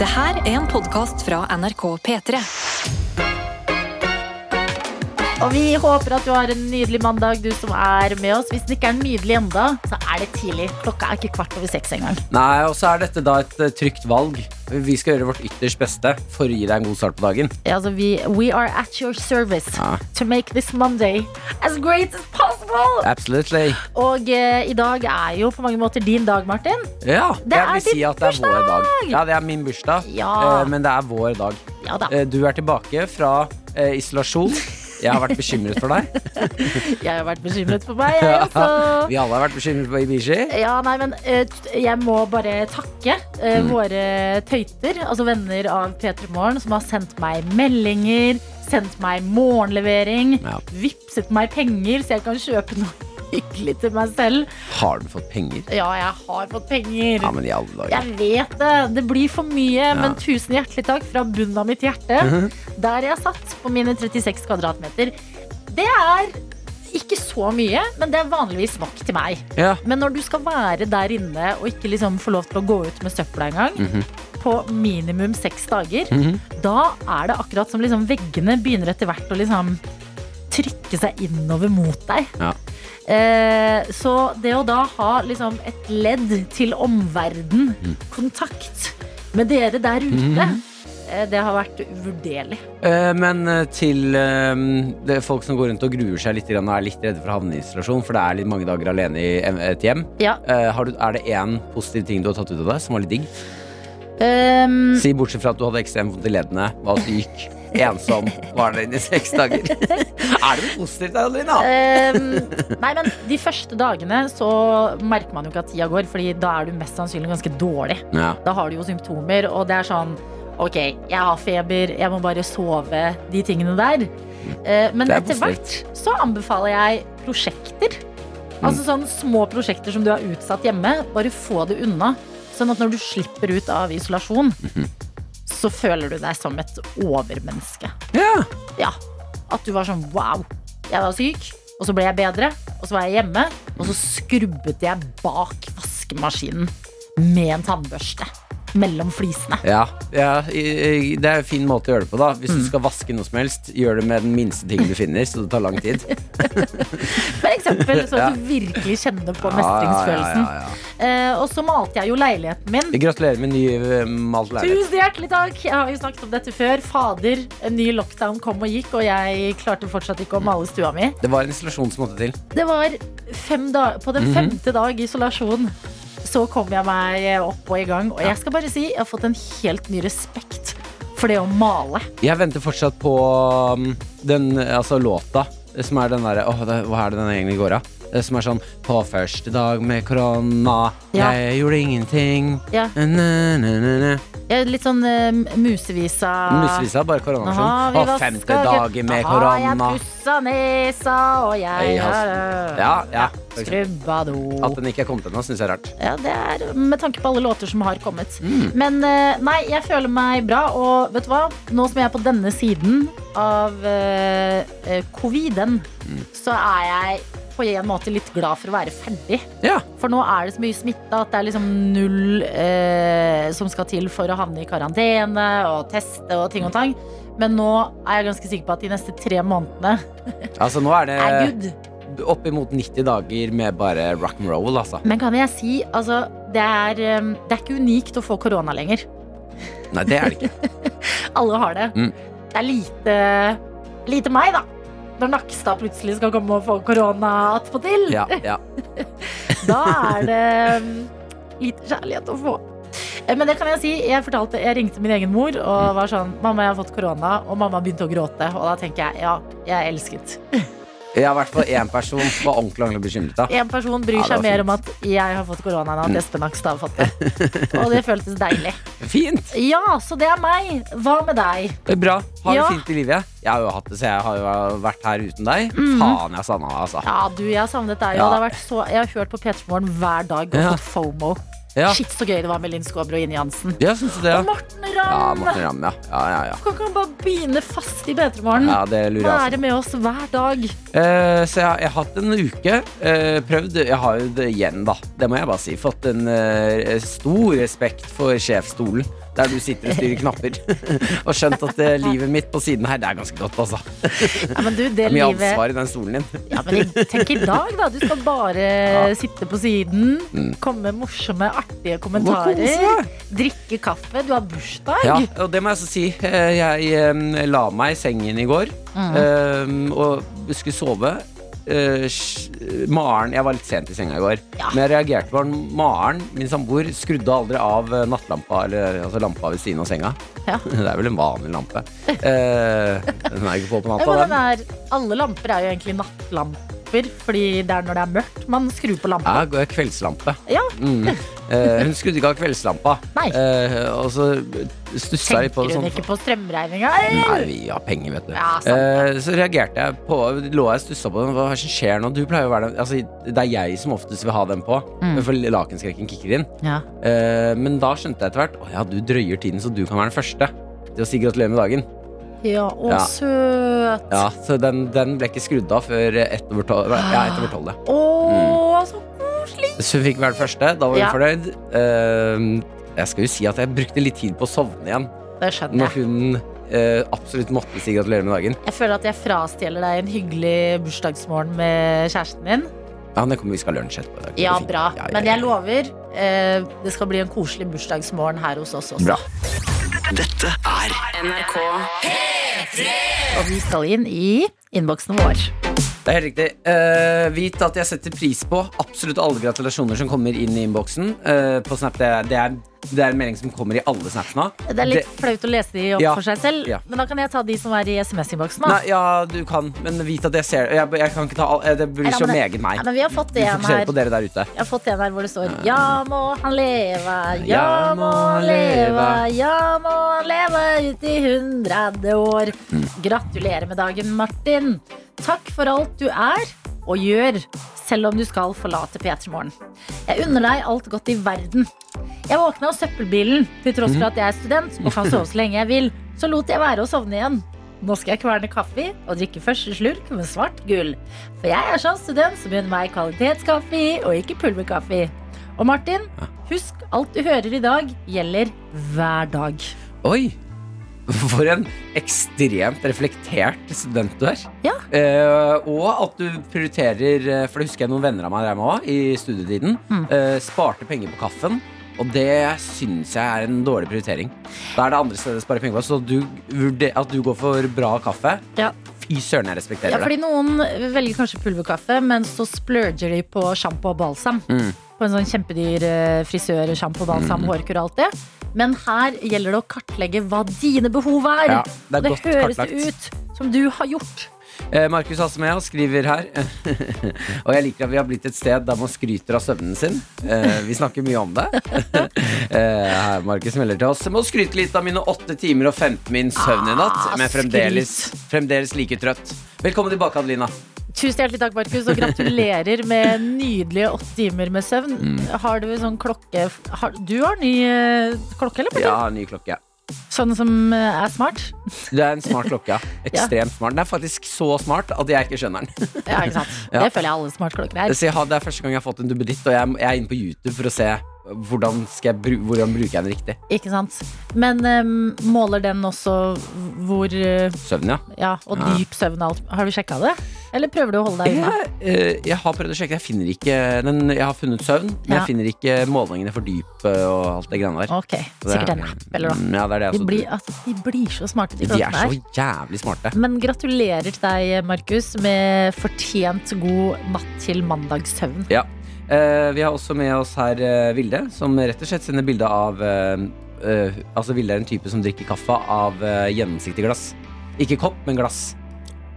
Det her er en podkast fra NRK P3. Og vi håper at du har en nydelig mandag, du som er med oss. Hvis den ikke er nydelig ennå, så er det tidlig. Klokka er ikke kvart over seks engang. Nei, og så er dette da et eh, trygt valg. Vi skal gjøre vårt ytterst beste for å gi deg en god start på dagen. Ja, Altså, vi, we are at your service Ja. to make this Monday as great as possible. Absolutely. Og eh, i dag er jo på mange måter din dag, Martin. Ja, Det jeg er vil si din at det er vår dag. bursdag! Ja, det er min bursdag, Ja. eh, men det er vår dag. Ja da. Eh, Du er tilbake fra eh, isolasjon. Jeg har vært bekymret for deg. Jeg har vært bekymret for meg, altså. jeg også. Vi alle har vært bekymret for Ibishi. Ja, nei, men eh, t- jeg må bare takke eh, Mm. våre tøyter, altså venner av P3 Morgen, som har sendt meg meldinger, sendt meg morgenlevering, Ja. vipset meg penger så jeg kan kjøpe noe hyggelig til meg selv. Har du fått penger? Ja, jeg har fått penger. Ja, men i alle dager. Jeg vet det. Det blir for mye, men tusen hjertelig takk fra bunnen av mitt hjerte. Der jeg satt på mine 36 kvadratmeter. Det er ikke så mye, men det er vanligvis nok til meg. Ja. Men når du skal være der inne og ikke liksom få lov til å gå ut med søpla engang, på minimum seks dager, da er det akkurat som liksom veggene begynner etter hvert å liksom trykke seg innover mot deg. Ja. Eh, så det å da ha liksom et ledd til omverden, kontakt med dere der ute, eh, det har vært uvurderlig. Eh, Men eh, til eh, det er folk som går rundt og gruer seg litt grann og er litt redde for å havne i isolasjon, for det er litt mange dager alene i en- et hjem. Ja. Eh, har du, er det én positiv ting du har tatt ut av deg som var litt digg? Ehm, Si bortsett fra at du hadde ekstremt vondt i leddene, var syk, ensom, var der inne i seks dager. er det noe positivt der, Adelina? Ehm, nei, men De første dagene så merker man jo ikke at tida går, Fordi da er du mest sannsynlig ganske dårlig. Ja. Da har du jo symptomer, og det er sånn Ok, jeg har feber, jeg må bare sove. De tingene der. Eh, men Det er etter hvert positivt. så anbefaler jeg prosjekter. Mm. Altså sånn små prosjekter som du har utsatt hjemme. Bare få det unna. Sånn at når du slipper ut av isolasjon, Mhm. så føler du deg som et overmenneske. ja. Ja, at du var sånn wow, jeg var syk, og så ble jeg bedre, og så var jeg hjemme, og så skrubbet jeg bak vaskemaskinen med en tannbørste mellom flisene. Ja, ja, i- i- det er en fin måte å gjøre det på, da. Hvis du skal vaske noe som helst, gjør det med den minste tingen du finner, så det tar lang tid. For eksempel, så at du virkelig kjenner på mestringsfølelsen. Ja, ja, ja, ja. Eh, og så malte jeg jo leiligheten min. Gratulerer med ny eh, malt leilighet. Tusen hjertelig takk! Jeg har jo snakket om dette før. Fader, en ny lockdown kom og gikk, og jeg klarte fortsatt ikke å male stua mi. Det var en isolasjon som måtte til. Det var fem da På Mhm. den femte dag isolasjon Så kom jeg meg opp og i gang Og jeg skal bare si, jeg har fått en helt ny respekt For det å male Jeg venter fortsatt på um, den altså, låta som er den derre Åh, det- hva er det den egentlig går av? Det Som er sånn På første dag med korona, Ja. jeg gjorde ingenting. Ja. Na, na, na, na. Jeg er litt sånn eh, musevisa Musevisa er bare koronaversjon. På femte dagen med Nå har korona. jeg pusset nesa Og jeg Hei, har Hansen. Ja, ja. for eksempel. Skrubba do At den ikke er kommet ennå, syns jeg er rart. Ja, det er med tanke på alle låter som har kommet. Men eh, nei, jeg føler meg bra, og vet du hva? Nå som jeg er på denne siden av eh, eh, coviden, så er jeg på en måte litt glad for å være ferdig. Ja. For nå er det så mye smitte at det er liksom null eh, som skal til for å havne i karantene og teste og ting og tang. Men nå er jeg ganske sikker på at de neste tre månedene Altså, nå er er det good. oppimot 90 dager med bare rock and roll, altså. Men kan jeg si, altså, det er, eh, det er ikke unikt å få korona lenger. Nei, det er det ikke. Alle har det. Mm. Det er lite, lite meg, da. Når Nakstad plutselig skal komme og få korona attpåtil. Ja, ja. Da er det mm, lite kjærlighet å få. Eh, Men det kan jeg si, jeg fortalte, jeg ringte min egen mor Mm. og var sånn Mamma, jeg har fått korona. Og mamma begynte å gråte. Og da tenker jeg ja, jeg er elsket. Jeg har i hvert fall én person som var ordentlig, ordentlig bekymret. da. En person bryr Ja, det var seg mer fint. Mm. om at jeg har fått korona, enn at Espen Nakstad har fått det. Og det føltes deilig. Fint! Ja, så det er meg. Hva med deg? Det er Bra. Ha Ja. det fint i livet. Jeg har jo hatt det, så jeg har jo vært her uten deg. Mm. Faen, jeg savna deg, altså. Ja, du, jeg har savnet deg. og Ja. Det har vært så, jeg har hørt på P3morgen hver dag og Ja. fått FOMO. Ja. Shit, så gøy det var med Linn Skåber og Ine Jansen. Ja, syns du det? Ja, Og Morten ja Ramm! Morten Ramm, ja. Ja, ja, ja. kan ikke han bare begynne fast i P3morgen? ja det altså. lurer jeg også på. Være med oss hver dag. Eh, så jeg, har- jeg har hatt en uke. eh, prøvd. Jeg har jo det igjen, da. Det må jeg bare si. Fått en eh, stor respekt for sjefsstolen. Der du sitter og styrer knapper. og skjønt at eh, livet mitt på siden her, det er ganske godt, altså. Det Ja, men du, det, er mye livet ansvar i den stolen din. ja, men jeg- Tenk i dag, da. Du skal bare Ja. Mm. sitte på siden, komme med morsomme, artige kose kommentarer. Drikke kaffe. Du har bursdag. Ja, og det må jeg også si. Eh, jeg eh, la meg i sengen i går Mhm. eh, og skulle sove. Eh, sj- Maren Jeg var litt sent i senga i går, Ja. men jeg reagerte på at Maren, min samboer, skrudde aldri av eh, nattlampa, eller altså lampa ved siden av senga. Ja. Det er vel en vanlig lampe. Eh, den er ikke på Ja, på natta, men den den. er, alle lamper er jo egentlig nattlamper, fordi det er når det er mørkt man skrur på lampa. Ja, g- kveldslampe. Ja, Mm. Eh, hun skrudde ikke av kveldslampa, Nei. Eh, og så stussa jeg litt Tenker på det. hun sånn ikke på strømregninga? Nei, vi har penger, vet du. Ja, sant. Eh, så reagerte jeg på Lå jeg og stussa på den. Hva er det som skjer nå? Du pleier jo å være den Altså, det er jeg som oftest vil ha den på, Mm. for lakenskrekken kicker inn. Ja. Eh, men da skjønte jeg etter hvert Å ja, du drøyer tiden, så du kan være den første til å si gratulerer med dagen. ja, å Ja. søt. Ja, Så den, den ble ikke skrudd av før ett over tolv. Ja, ett over tolv, ja. Å, Mm. sånn. så koselig. Så hun fikk være den første. Da var hun Ja. fornøyd. Eh, jeg skal jo si at jeg brukte litt tid på å sovne igjen Det skjønner når jeg. hun eh, absolutt måtte si gratulerer med dagen. Jeg føler at jeg frastjeler deg en hyggelig bursdagsmorgen med kjæresten din. Ja, det kommer vi skal ha lunsj etterpå. Det går Ja, fint. bra. Ja, ja, Men ja. jeg lover, eh, det skal bli en koselig bursdagsmorgen her hos oss også. Bra. Og vi skal inn i innboksen vår. Det er helt riktig. Eh, vit at jeg setter pris på absolutt alle gratulasjoner som kommer inn i innboksen. eh, på Snap, det er, det, er, det er en melding som kommer i alle Snapsene. Det er litt flaut å lese de opp Ja. for seg selv, Ja. men da kan jeg ta de som er i SMS-innboksen. da. Nei, ja, du kan, men vit at jeg ser jeg, jeg kan ikke ta all, eh, Det bryr Nei, seg men det- meget meg. Nei, men vi har fått Vi det en fokuserer her. på dere der ute. Jeg har fått en her hvor det står Ja må han leve, Ja, ja må må han han leve, leve. ja må han leve ut i 130 år. Mm. Gratulerer med dagen, Martin. Takk for alt du er og gjør, selv om du skal forlate P3 Morgen. Jeg unner deg alt godt i verden. Jeg våkna av søppelbilen til tross for at jeg er student og kan sove så lenge jeg vil. Så lot jeg være å sovne igjen. Nå skal jeg kverne kaffe og drikke første slurk med svart gull. For jeg er sånn student som unner meg kvalitetskaffe og ikke pulverkaffe. Og Martin, husk alt du hører i dag, gjelder hver dag. Oi! For en ekstremt reflektert student du er. Ja. Eh, og at du prioriterer eh, For det husker jeg noen venner av meg drev med òg i studietiden. Mm. eh, sparte penger på kaffen. Og det syns jeg er en dårlig prioritering. Da er det andre steder å spare penger på. Så du, vurder- at du går for bra kaffe Ja. Fy søren, jeg respekterer Ja, det. fordi Noen velger kanskje pulverkaffe, men så splurger de på sjampo og balsam. Mm. På en sånn kjempedyr eh, frisør, sjampo, balsam, hårkur og alt det. Men her gjelder det å kartlegge hva dine behov er. Ja, det er Og det godt høres kartlagt. det ut som du har gjort. Eh, Markus Hassemea skriver her Og jeg liker at vi har blitt et sted der man skryter av søvnen sin. Eh, vi snakker mye om det. eh, her Markus melder til oss. Jeg må skryte litt av mine åtte timer og 15 min søvn i natt. Ah, Men jeg er fremdeles, fremdeles like trøtt. Velkommen tilbake, Adelina. Tusen hjertelig takk, Markus, og gratulerer med nydelige åtte timer med søvn. Mm. Har du en sånn klokke har, Du har ny eh, klokke, eller? Ja, ny klokke. Sånn som eh, er smart? Det er en smart klokke. ja. Ekstremt smart. Den er faktisk så smart at jeg ikke skjønner den. Ja, ikke sant? Ja. Det føler jeg alle smartklokker er. Så jeg har, det er første gang jeg har fått en duppeditt, og jeg, jeg er inne på YouTube for å se hvordan, skal jeg, bru- hvordan bruker jeg den riktig. Ikke sant? Men em, måler den også hvor eh, Søvn, ja. Ja, og Ja. dyp søvn og alt. Har du sjekka det? Eller prøver du å holde deg unna? Jeg, eh, jeg har prøvd å sjekke, jeg finner ikke den, Jeg har funnet søvn, men Ja. jeg finner ikke målingene for dyp eh, og alt det greiene der. Ok, Så det- Sikkert en app, eller noe. Mm, Ja, det er det jeg De også blir, altså, de blir så smarte, de De er klokkene så her. jævlig smarte. Men gratulerer til deg, Markus, med fortjent god natt til mandagssøvn. Ja. Eh, vi har også med oss her eh, Vilde, som rett og slett sender bilde av eh, eh, Altså, Vilde er en type som drikker kaffe av eh, gjennomsiktig glass. Ikke kopp, men glass.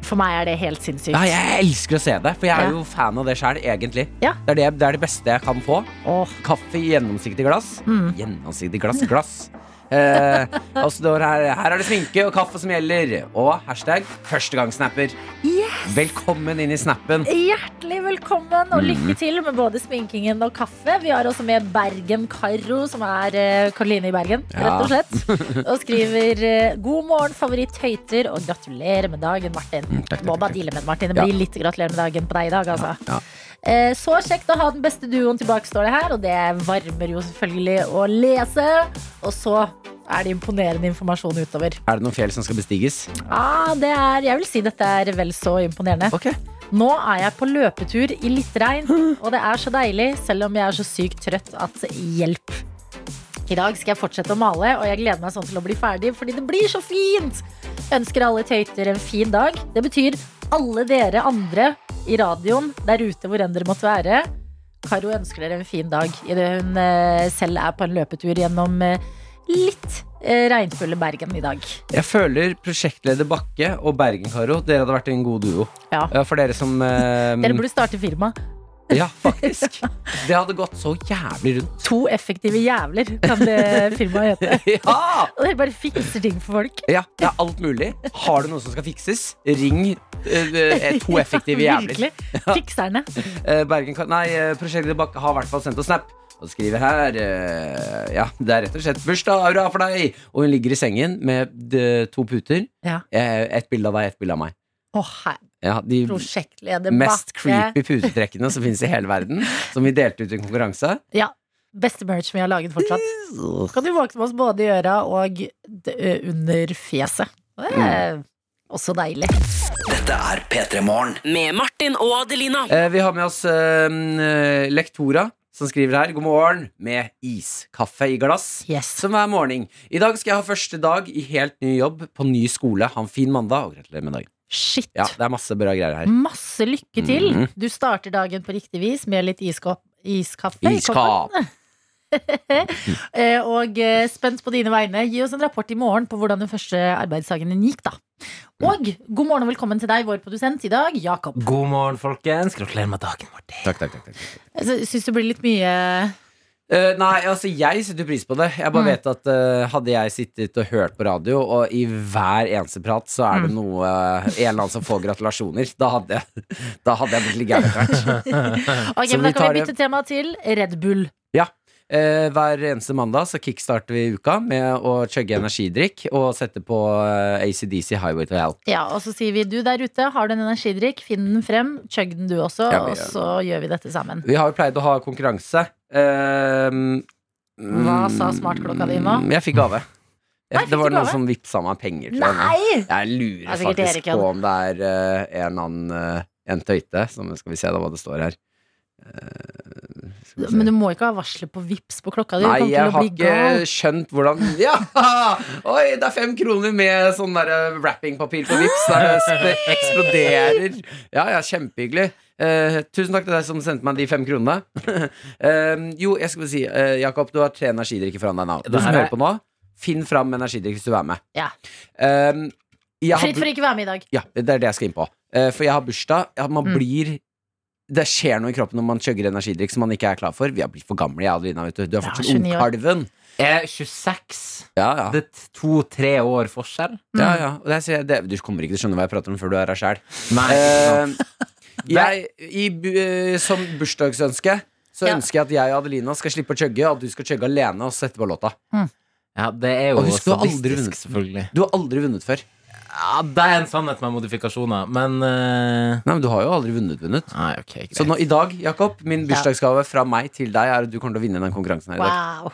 For meg er det helt sinnssykt. Ja, jeg elsker å se det, for jeg er Ja. jo fan av det sjøl, egentlig. Ja. Det, er det, det er det beste jeg kan få. Åh, Kaffe i gjennomsiktig glass. Mm. Gjennomsiktig glass, glass. Eh, og så står det her, her er det sminke og kaffe som gjelder. Og hashtag førstegangssnapper. Yeah! Velkommen inn i snappen. Hjertelig velkommen og Mhm. lykke til med både sminkingen og kaffe. Vi har også med Bergen Karo, som er eh, Karoline i Bergen, Ja. rett og slett. Og skriver eh, 'God morgen, favoritthøyter', og gratulerer med dagen, Martin. Mm, takk, takk, Må bare takk. deale med det, Martin. Det Ja. blir litt gratulerer med dagen på deg i dag, altså. Ja. Eh, Så kjekt å ha den beste duoen tilbake, står det her. Og det varmer jo selvfølgelig å lese. Og så er det imponerende informasjon utover. Er det noen fjell som skal bestiges? Ah, det er, jeg vil si dette er vel så imponerende. Ok. Nå er jeg på løpetur i litt regn, og det er så deilig, selv om jeg er så sykt trøtt at hjelp. I dag skal jeg fortsette å male, og jeg gleder meg sånn til å bli ferdig, fordi det blir så fint! Ønsker alle tøyter en fin dag. Det betyr alle dere andre i radioen der ute hvor enn dere måtte være. Karo ønsker dere en fin dag idet hun eh, selv er på en løpetur gjennom eh, litt eh, regnfulle Bergen i dag. Jeg føler prosjektleder Bakke og Bergen-Karo, dere hadde vært en god duo. Ja. Ja, For dere som eh, Dere burde starte firma. Ja, faktisk. Det hadde gått så jævlig rundt. To effektive jævler kan det firmaet hete. Ja! Og dere bare fikser ting for folk. Ja, det er alt mulig. Har du noe som skal fikses, ring eh, to effektive Ja, jævler. virkelig. Fikserne. Eh, Bergen kan Nei, eh, prosjektet Bakke har i hvert fall sendt oss snap. Og skriver her eh, Ja, det er rett og slett bursdag, hurra for deg! Og hun ligger i sengen med eh, to puter. Ja. Eh, ett bilde av deg, ett bilde av meg. Å, her, Ja, de prosjektleder mest Bakke. creepy putetrekkene som finnes i hele verden. Som vi delte ut i en konkurranse. Ja. Beste merch vi har laget fortsatt. Kan du våkne med oss både i øra og d- ø, under fjeset. Det er Mm. også deilig. Med Martin og Adelina. Eh, vi har med oss eh, eh, Lektora, som skriver her. God morgen med iskaffe i glass. Yes. Som er morning. I dag skal jeg ha første dag i helt ny jobb på ny skole. Ha en fin mandag. Og gratulerer med dagen. Shit. Ja, det er masse bra greier Mm. her. Masse lykke til. Mhm. Du starter dagen på riktig vis med litt iskopp. Iskaffe. i koppen. Iskap. Eh, Og eh, spent på dine vegne. Gi oss en rapport i morgen på hvordan den første arbeidsdagen din gikk, da. Og god morgen og velkommen til deg, vår produsent i dag, Jakob. God morgen, folkens. Gratulerer med dagen, Martin. Takk, takk, takk, takk. Altså, Jeg syns det blir litt mye Eh, nei, altså jeg setter pris på det. Jeg bare Mm. vet at eh, hadde jeg sittet og hørt på radio, og i hver eneste prat så er det noe eh, En eller annen som får gratulasjoner, da hadde jeg, da hadde jeg blitt litt gæren etter hvert. Ok, Så men Da vi kan tar vi det- bytte tema til Red Bull. Eh, hver eneste mandag så kickstarter vi uka med å chugge energidrikk og sette på eh, ACDC Highway to Hell. Ja, Og så sier vi du der ute, har du en energidrikk, finn den frem, chugg den du også, Ja, vi- og så gjør vi dette sammen. Vi har jo pleid å ha konkurranse. Eh, mm, Hva sa smartklokka di nå? Jeg fikk gave. Nei, Jeg, fikk det var du noen gave? som vippsa meg penger. til den. Nei! Jeg Det er lurer sikkert faktisk Erik igjen. på om det er eh, en annen eh, en tøyte. Som, skal vi se da hva det står her. Eh, skal vi se. Men du må ikke ha varselet på vips på klokka di. Du Nei, kommer jeg til å har bli ikke gal. skjønt hvordan Ja! Oi, det er fem kroner med sånn der wrappingpapir på Vipps der det sp- eksploderer. Ja, ja, kjempehyggelig. Eh, tusen takk til deg som sendte meg de fem kronene. Eh, jo, jeg skal bare si, eh, Jakob, du har tre energidrikker foran deg nå. Du Det som her er- hører på nå, finn fram energidrikk hvis du er med. Ja. Eh, jeg har Fritt for ikke å være med i dag. ja, det er det jeg skal inn på. Eh, for jeg har bursdag. Ja, man Mm. blir Det skjer noe i kroppen når man chugger energidrikk som man ikke er klar for. Vi har blitt for gamle, jeg og Adelina. Vet du. du er Ja, fortsatt 29 år. ungkalven. Jeg er 26. Ja, ja. Det er to-tre år forskjell. ja, ja. Og det, sier jeg- det, du kommer ikke til å skjønne hva jeg prater om før du er her sjæl. Nei. Eh, jeg, i, bu- eh, som bursdagsønske så Ja. ønsker jeg at jeg og Adelina skal slippe å chugge, og at du skal chugge alene og sette på låta. ja, det er Og jo husk, du har aldri vunnet. sadistisk, selvfølgelig. Du har aldri vunnet før. Ja, det er en sannhet med modifikasjoner, men eh, Nei, men du har jo aldri vunnet, vunnet. Nei, ok, greit. Så nå, i dag, Jakob, min Ja. bursdagsgave fra meg til deg er at du kommer til å vinne den konkurransen her i dag. Wow.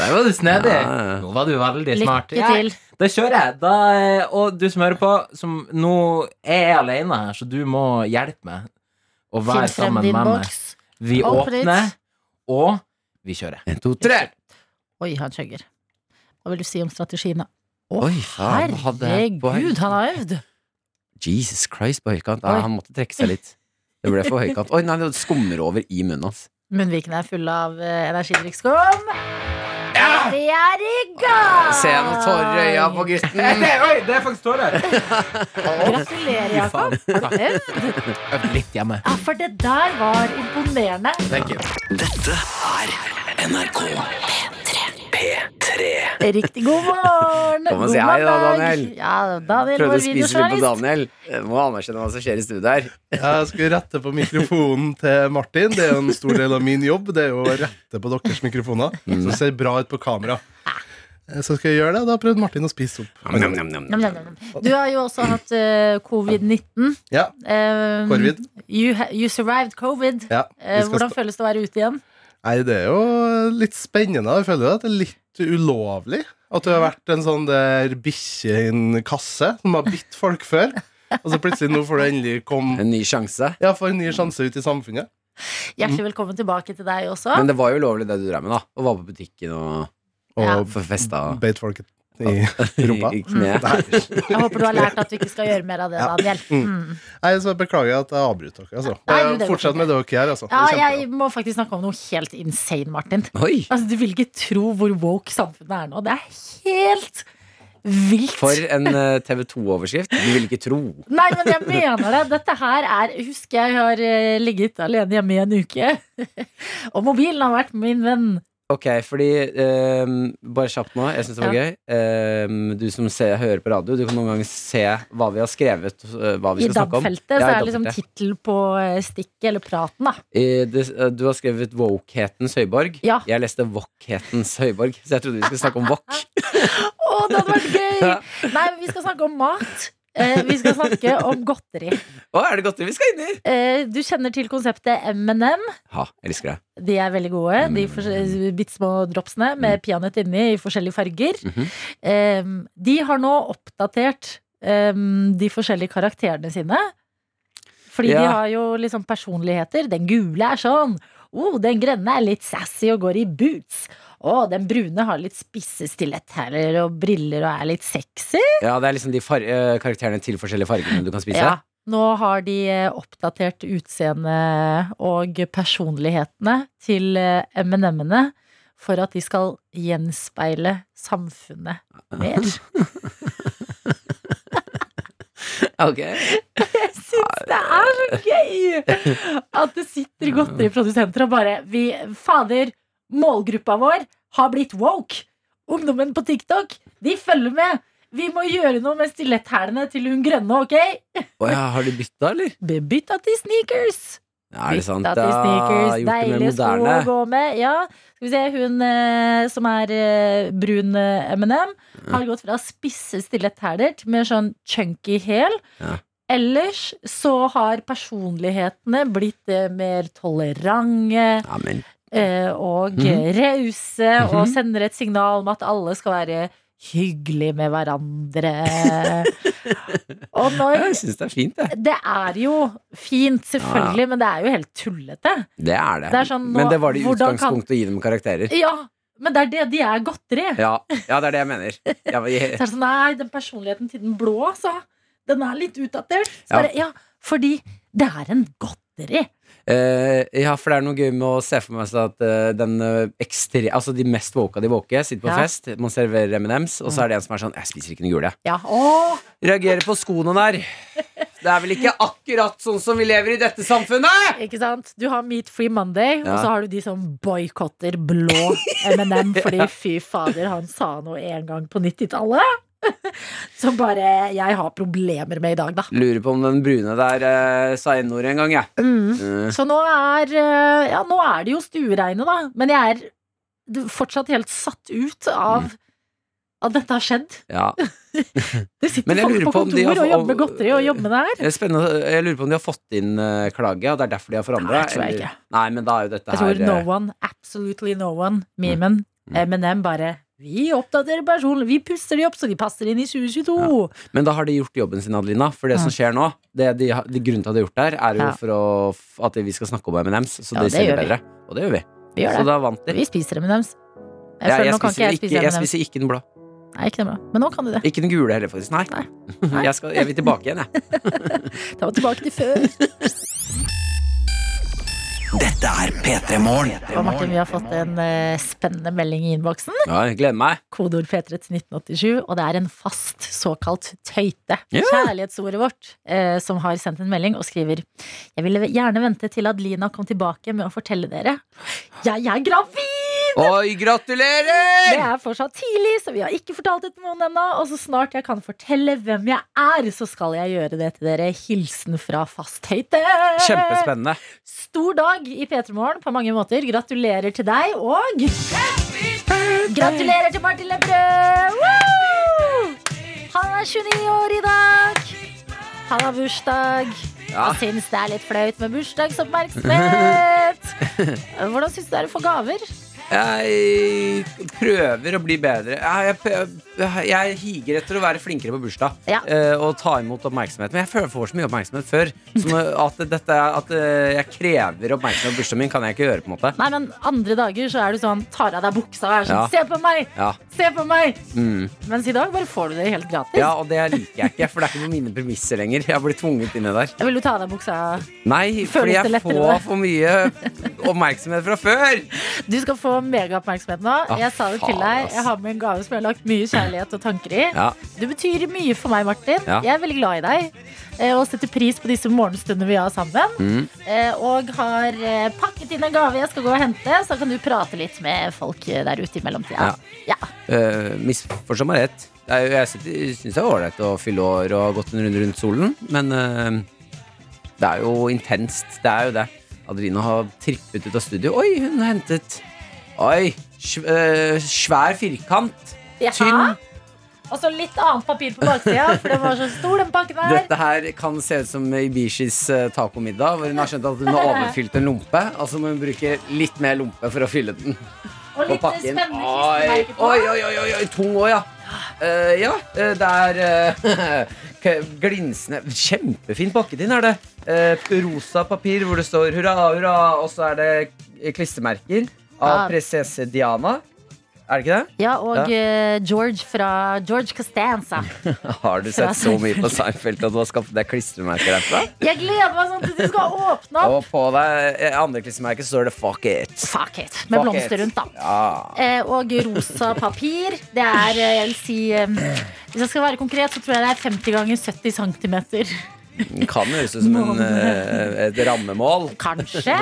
Der var du snedig. Ja, ja. Nå var du veldig Lykke smart. Ja, til. Da kjører jeg. Da, eh, og du som hører på, som nå er jeg alene her, så du må hjelpe meg. Og Finn være frem sammen din med meg. boks. Vi Åpne ditt. åpner, og vi kjører. En, to, tre! Oi, han chugger. Hva vil du si om strategien? da? Å, Oi, faen, hva Ah, hadde jeg på herregud, han har øvd! Jesus Christ på høykant. Oi. Ja, han måtte trekke seg litt. Det ble for høykant. Oi, nei, det skummer over i munnen hans. Munnvikene er fulle av uh, energidrikkskum. Vi er i gang! Se noen tårer i øya på gutten. oi, det er faktisk tårer! Gratulerer, Jakob. Har du øvd? Litt hjemme. Ja, for det der var imponerende. Thank you. Dette er NRK P3. P3. Riktig god morgen! Kom og si God hei da, mandag. Daniel. Ja, Daniel, Prøvde vår å spise litt på videojournalist. Daniel. Jeg må anerkjenne hva som skjer i studio her. Jeg skulle rette på mikrofonen til Martin. Det er jo en stor del av min jobb. Det er jo å rette på deres mikrofoner, så det ser bra ut på kamera. Eh, Så skal jeg gjøre det. Da prøvde Martin å spise opp. Nam, nam, nam, Nam, nam. nam, nam. Du har jo også hatt eh, covid-19. Ja, Eh, Korvid. You, ha- you survived covid. Ja, Eh, vi skal hvordan stå- føles det å være ute igjen? Nei, det er jo litt spennende. Jeg føler jo at det er litt ulovlig. At du har vært en sånn der bikkje i en kasse som har bitt folk før. Og så plutselig nå får du endelig komme En ny sjanse. Ja, får en ny sjanse ut i samfunnet. Mm. Hjertelig velkommen tilbake til deg også. Men det var jo lovlig det du drev med, da. Å være på butikken og Ja. Og få festa beit folk i rumpa. i kneet. Nei. Jeg håper du har lært at du ikke skal gjøre mer av det, Ja. Daniel. Mm. Nei, så beklager jeg at jeg avbryter dere. Altså. Nei, jo, det går Fortsett fint. med det dere gjør. Altså. Det Ja, er kjempebra. jeg må faktisk snakke om noe helt insane, Martin. Oi! Altså, du vil ikke tro hvor woke samfunnet er nå. Det er helt vilt. For en eh, TV2-overskrift. Du vil ikke tro. Nei, men jeg mener det. Dette her er Husker jeg har eh, ligget alene hjemme i en uke. Og mobilen har vært min venn. Ok, fordi ehm, Bare kjapt nå. Jeg syns det var gøy. Ehm, du som ser, hører på radio, du kan noen ganger se hva vi har skrevet. eh, hva vi I skal snakke om. DAB-feltet så Ja, i er det liksom DAB-feltet. tittel på eh, stikket eller praten, da. Eh, det, eh, Du har skrevet Wokhetens høyborg. Ja. Jeg leste Wokhetens høyborg, så jeg trodde vi skulle snakke om wok. Å, det hadde vært gøy! Ja. Nei, men vi skal snakke om mat. Eh, Vi skal snakke om godteri. Å, er det godteri vi skal inn i? Eh, Du kjenner til konseptet M&M. Ha, elsker det. De er veldig gode. Mm. De fors- eh, bitte små dropsene med peanøtt inni i forskjellige farger. Mhm. Em, de har nå oppdatert em, de forskjellige karakterene sine. Fordi de Ja. har jo liksom personligheter. Den gule er sånn. Oh, den grønne er litt sassy og går i boots. Å, den brune har litt spisse stiletthæler og briller og er litt sexy. Ja, det er liksom de far eh, karakterene til forskjellige fargene du kan spise. Ja. Nå har de eh, oppdatert utseendet og personlighetene til eh, M&M-ene for at de skal gjenspeile samfunnet mer. Ok. Jeg syns det er så gøy at det sitter godteriprodusenter og bare vi, Fader, målgruppa vår har blitt woke. Ungdommen på TikTok, de følger med. Vi må gjøre noe med stilletthælene til hun grønne, ok? Å ja, har de bytta, eller? Bebytta til sneakers. Ja, er det sant? Bytta til sneakers, Ja, gjort det mer deilige sko å moderne. gå med. Ja, skal vi se, hun eh, som er eh, brun eh, M&M, har gått fra spisse stiletthæler til mer sånn chunky hæl. Ja. Ellers så har personlighetene blitt eh, mer tolerante Ja, men eh, og Mhm. rause, og sender et signal om at alle skal være hyggelige med hverandre. og når jeg syns det er fint, jeg. det er jo fint, selvfølgelig, men det er jo helt tullete. Det er det. Det er sånn, nå- men det var det i hvordan kan- utgangspunktet å gi dem karakterer. Ja, men det er det de er godteri. Ja, ja, det er det jeg mener. Jeg, Så jeg, er det sånn, nei, den personligheten til den blå, altså. Den er litt utdatert. Så Ja. Bare, ja, fordi det er en godteri. Eh, ja, for det er noe gøy med å se for meg sånn at eh, den eh, ekstre... Altså de mest våke av de våke sitter på Ja. fest, man serverer M&M's, og så er det en som er sånn Jeg spiser ikke den gule, jeg. Ja, åh, Reagerer på skoene der. Det er vel ikke akkurat sånn som vi lever i dette samfunnet! ikke sant? Du har Meat Free Monday, og Ja. så har du de som boikotter blå M&M, fordi fy fader, han sa noe en gang på 90-tallet. Som bare jeg har problemer med i dag, da. Lurer på om den brune der eh, sa N-ordet en gang, jeg. Mm. Eh, Så nå er, eh, ja, nå er det jo stueregnet, da. Men jeg er d- fortsatt helt satt ut Mm. av at dette har skjedd. ja. Det Men sitter jeg folk lurer på på om de har kontor og fått- jobber med godteri og jobber med det her. Det er spennende. Jeg lurer på om de har fått inn eh, klage, og det er derfor de har forandra. Nei, det tror jeg ikke. Nei, men da er jo dette Jeg tror her no eh, one, absolutely no one, memen, M&M bare vi oppdaterer personen, vi pusser de opp så de passer inn i 2022. Men da har de gjort jobben sin, Adelina. For det Ja. som skjer nå, det de, har- de grunnen til at de har gjort det her, er jo Ja. for å, f- at vi skal snakke om M&M's, så Ja, de det selger gjør vi. bedre. Og det gjør vi. Vi gjør Så det. da vant de. Vi spiser M&M's. Jeg Ja, føler jeg, nå kan ikke jeg spiser spise ikke, jeg M&M's. spiser ikke den blå. Nei, ikke det bra. Men nå kan du det. Ikke den gule heller, faktisk. Nei. Jeg, skal, jeg vil tilbake igjen, jeg. Ta meg tilbake til før. Dette er P3 Morgen. Og Martin, vi har fått en eh, spennende melding i innboksen. Ja, jeg gleder meg. kodeord P3 til 1987, og det er en fast såkalt tøyte, Ja. kjærlighetsordet vårt, eh, som har sendt en melding og skriver Jeg ville gjerne vente til Adelina kom tilbake med å fortelle dere Jeg er gravid! Oi, Det gratulerer! er fortsatt tidlig, så vi har ikke fortalt det til noen ennå. Og så snart jeg kan fortelle hvem jeg er, så skal jeg gjøre det til dere. Hilsen fra fasthøyde. Kjempespennende. Stor dag i P3 Morgen på mange måter. Gratulerer til deg, og Gratulerer til Martin Lepperød! Woo! Han er 29 år i dag. Han har bursdag. Ja. Han syns det er litt flaut med bursdagsoppmerksomhet. Hvordan syns du det er å få gaver? Jeg prøver å bli bedre. Jeg, jeg, jeg higer etter å være flinkere på bursdag Ja. eh, og ta imot oppmerksomhet. Men jeg føler jeg får så mye oppmerksomhet før. Så nå- at, dette, at eh, jeg krever oppmerksomhet på bursdagen min, kan jeg ikke gjøre. på en måte Nei, men andre dager så er du sånn Tar av deg buksa og er sånn Ja. Se på meg! Ja, Se på meg! mm. Mens i dag bare får du det helt gratis. ja og det liker jeg ikke, for det er ikke på mine premisser lenger. Jeg har blitt tvunget inn i det der. Vil du ta av deg buksa? Nei, fordi Føles det jeg lettere får da? for mye oppmerksomhet fra før. Du skal få megaoppmerksomhet nå. Ah, jeg sa det til faen, deg. ass. Jeg har med en gave som jeg har lagt mye kjærlighet og tanker i. Ja, Du betyr mye for meg, Martin. Ja. Jeg er veldig glad i deg. eh, Og setter pris på disse morgenstundene vi har sammen. Mm. Eh, Og har eh, pakket inn en gave jeg skal gå og hente, så kan du prate litt med folk eh, der ute i mellomtida. Ja. uh, Misforstå meg rett. Jeg, jeg syns det er ålreit å fylle år og ha gått en runde rundt solen, men eh, det er jo intenst. Det er jo det. Adelina har trippet ut av studio. Oi, hun har hentet Oi! sv- eh, svær firkant. Ja. Tynn. Og så litt annet papir på baksida, for den var så stor, den pakken her. Dette her kan se ut som Ibishis eh, tacomiddag, hvor hun har skjønt at hun har overfylt en lompe. Altså må hun bruke litt mer lompe for å fylle den. Og på litt pakken. spennende Oi, klistremerker på. oi, oi, oi, oi, tung òg, ja. Eh, ja, eh, det er eh, k- glinsende Kjempefin pakke din er det. Eh, rosa papir hvor det står hurra, hurra, og så er det klistremerker av Ah. prinsesse Diana. Er det ikke det? Ja, og eh, George fra George Costanza. Har du Fra sett så mye på Seinfeld at du har skaffet deg klistremerker derfra? Jeg gleder meg sånn til de skal åpne opp. Og på deg eh, andre klistremerker så står det 'fuck it'. Fuck it. Med Fuck blomster it. rundt, da. Ja. Eh, og rosa papir. Det er, eh, jeg vil si eh, Hvis jeg skal være konkret, så tror jeg det er 50 ganger 70 cm. Den kan høres ut som en, eh, et rammemål. Kanskje.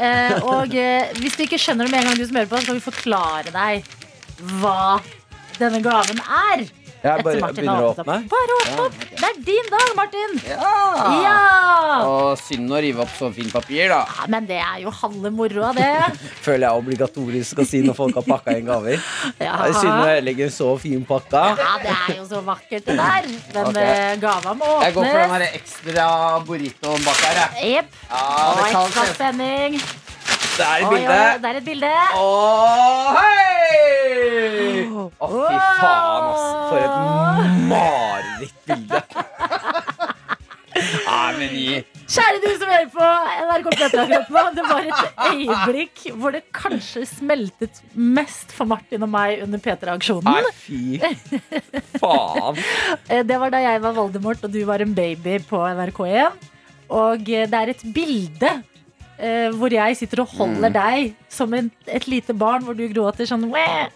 Eh, og eh, hvis du ikke skjønner det med en gang, du som hører på, så skal vi forklare deg hva denne gaven er. Jeg Etter bare Martin begynner har å åpnet åpne. opp. Bare åpne opp. Det er din dag, Martin. Ja! Ja! Og synd å rive opp så fint papir, da. Ja, Men det er jo halve moroa, det. Ah, Føler jeg er obligatorisk å si når folk har pakka inn gaver. Ja. Det er synd å ødelegge en så fin pakke. ja, det er jo så vakkert, det der. Den Ok. okay. gava må Jeg går for den åpnes. her ekstra burritoen bak her, jeg. Jepp. Ja, Og det kan ekstra se spenning. Det er et Oi, oi, oi, bilde. det er et bilde. Å, hei! Å, fy faen, ass. For et marerittbilde. Nei, men gi Kjære du som hører på NRK P3 akkurat nå. Det var et øyeblikk hvor det kanskje smeltet mest for Martin og meg under Nei, P3-aksjonen. fy faen. Eh, Det var da jeg var Voldemort og du var en baby på NRK1. Og eh, det er et bilde eh, hvor jeg sitter og holder Mm. deg som en, et lite barn hvor du gråter sånn «Wæ!»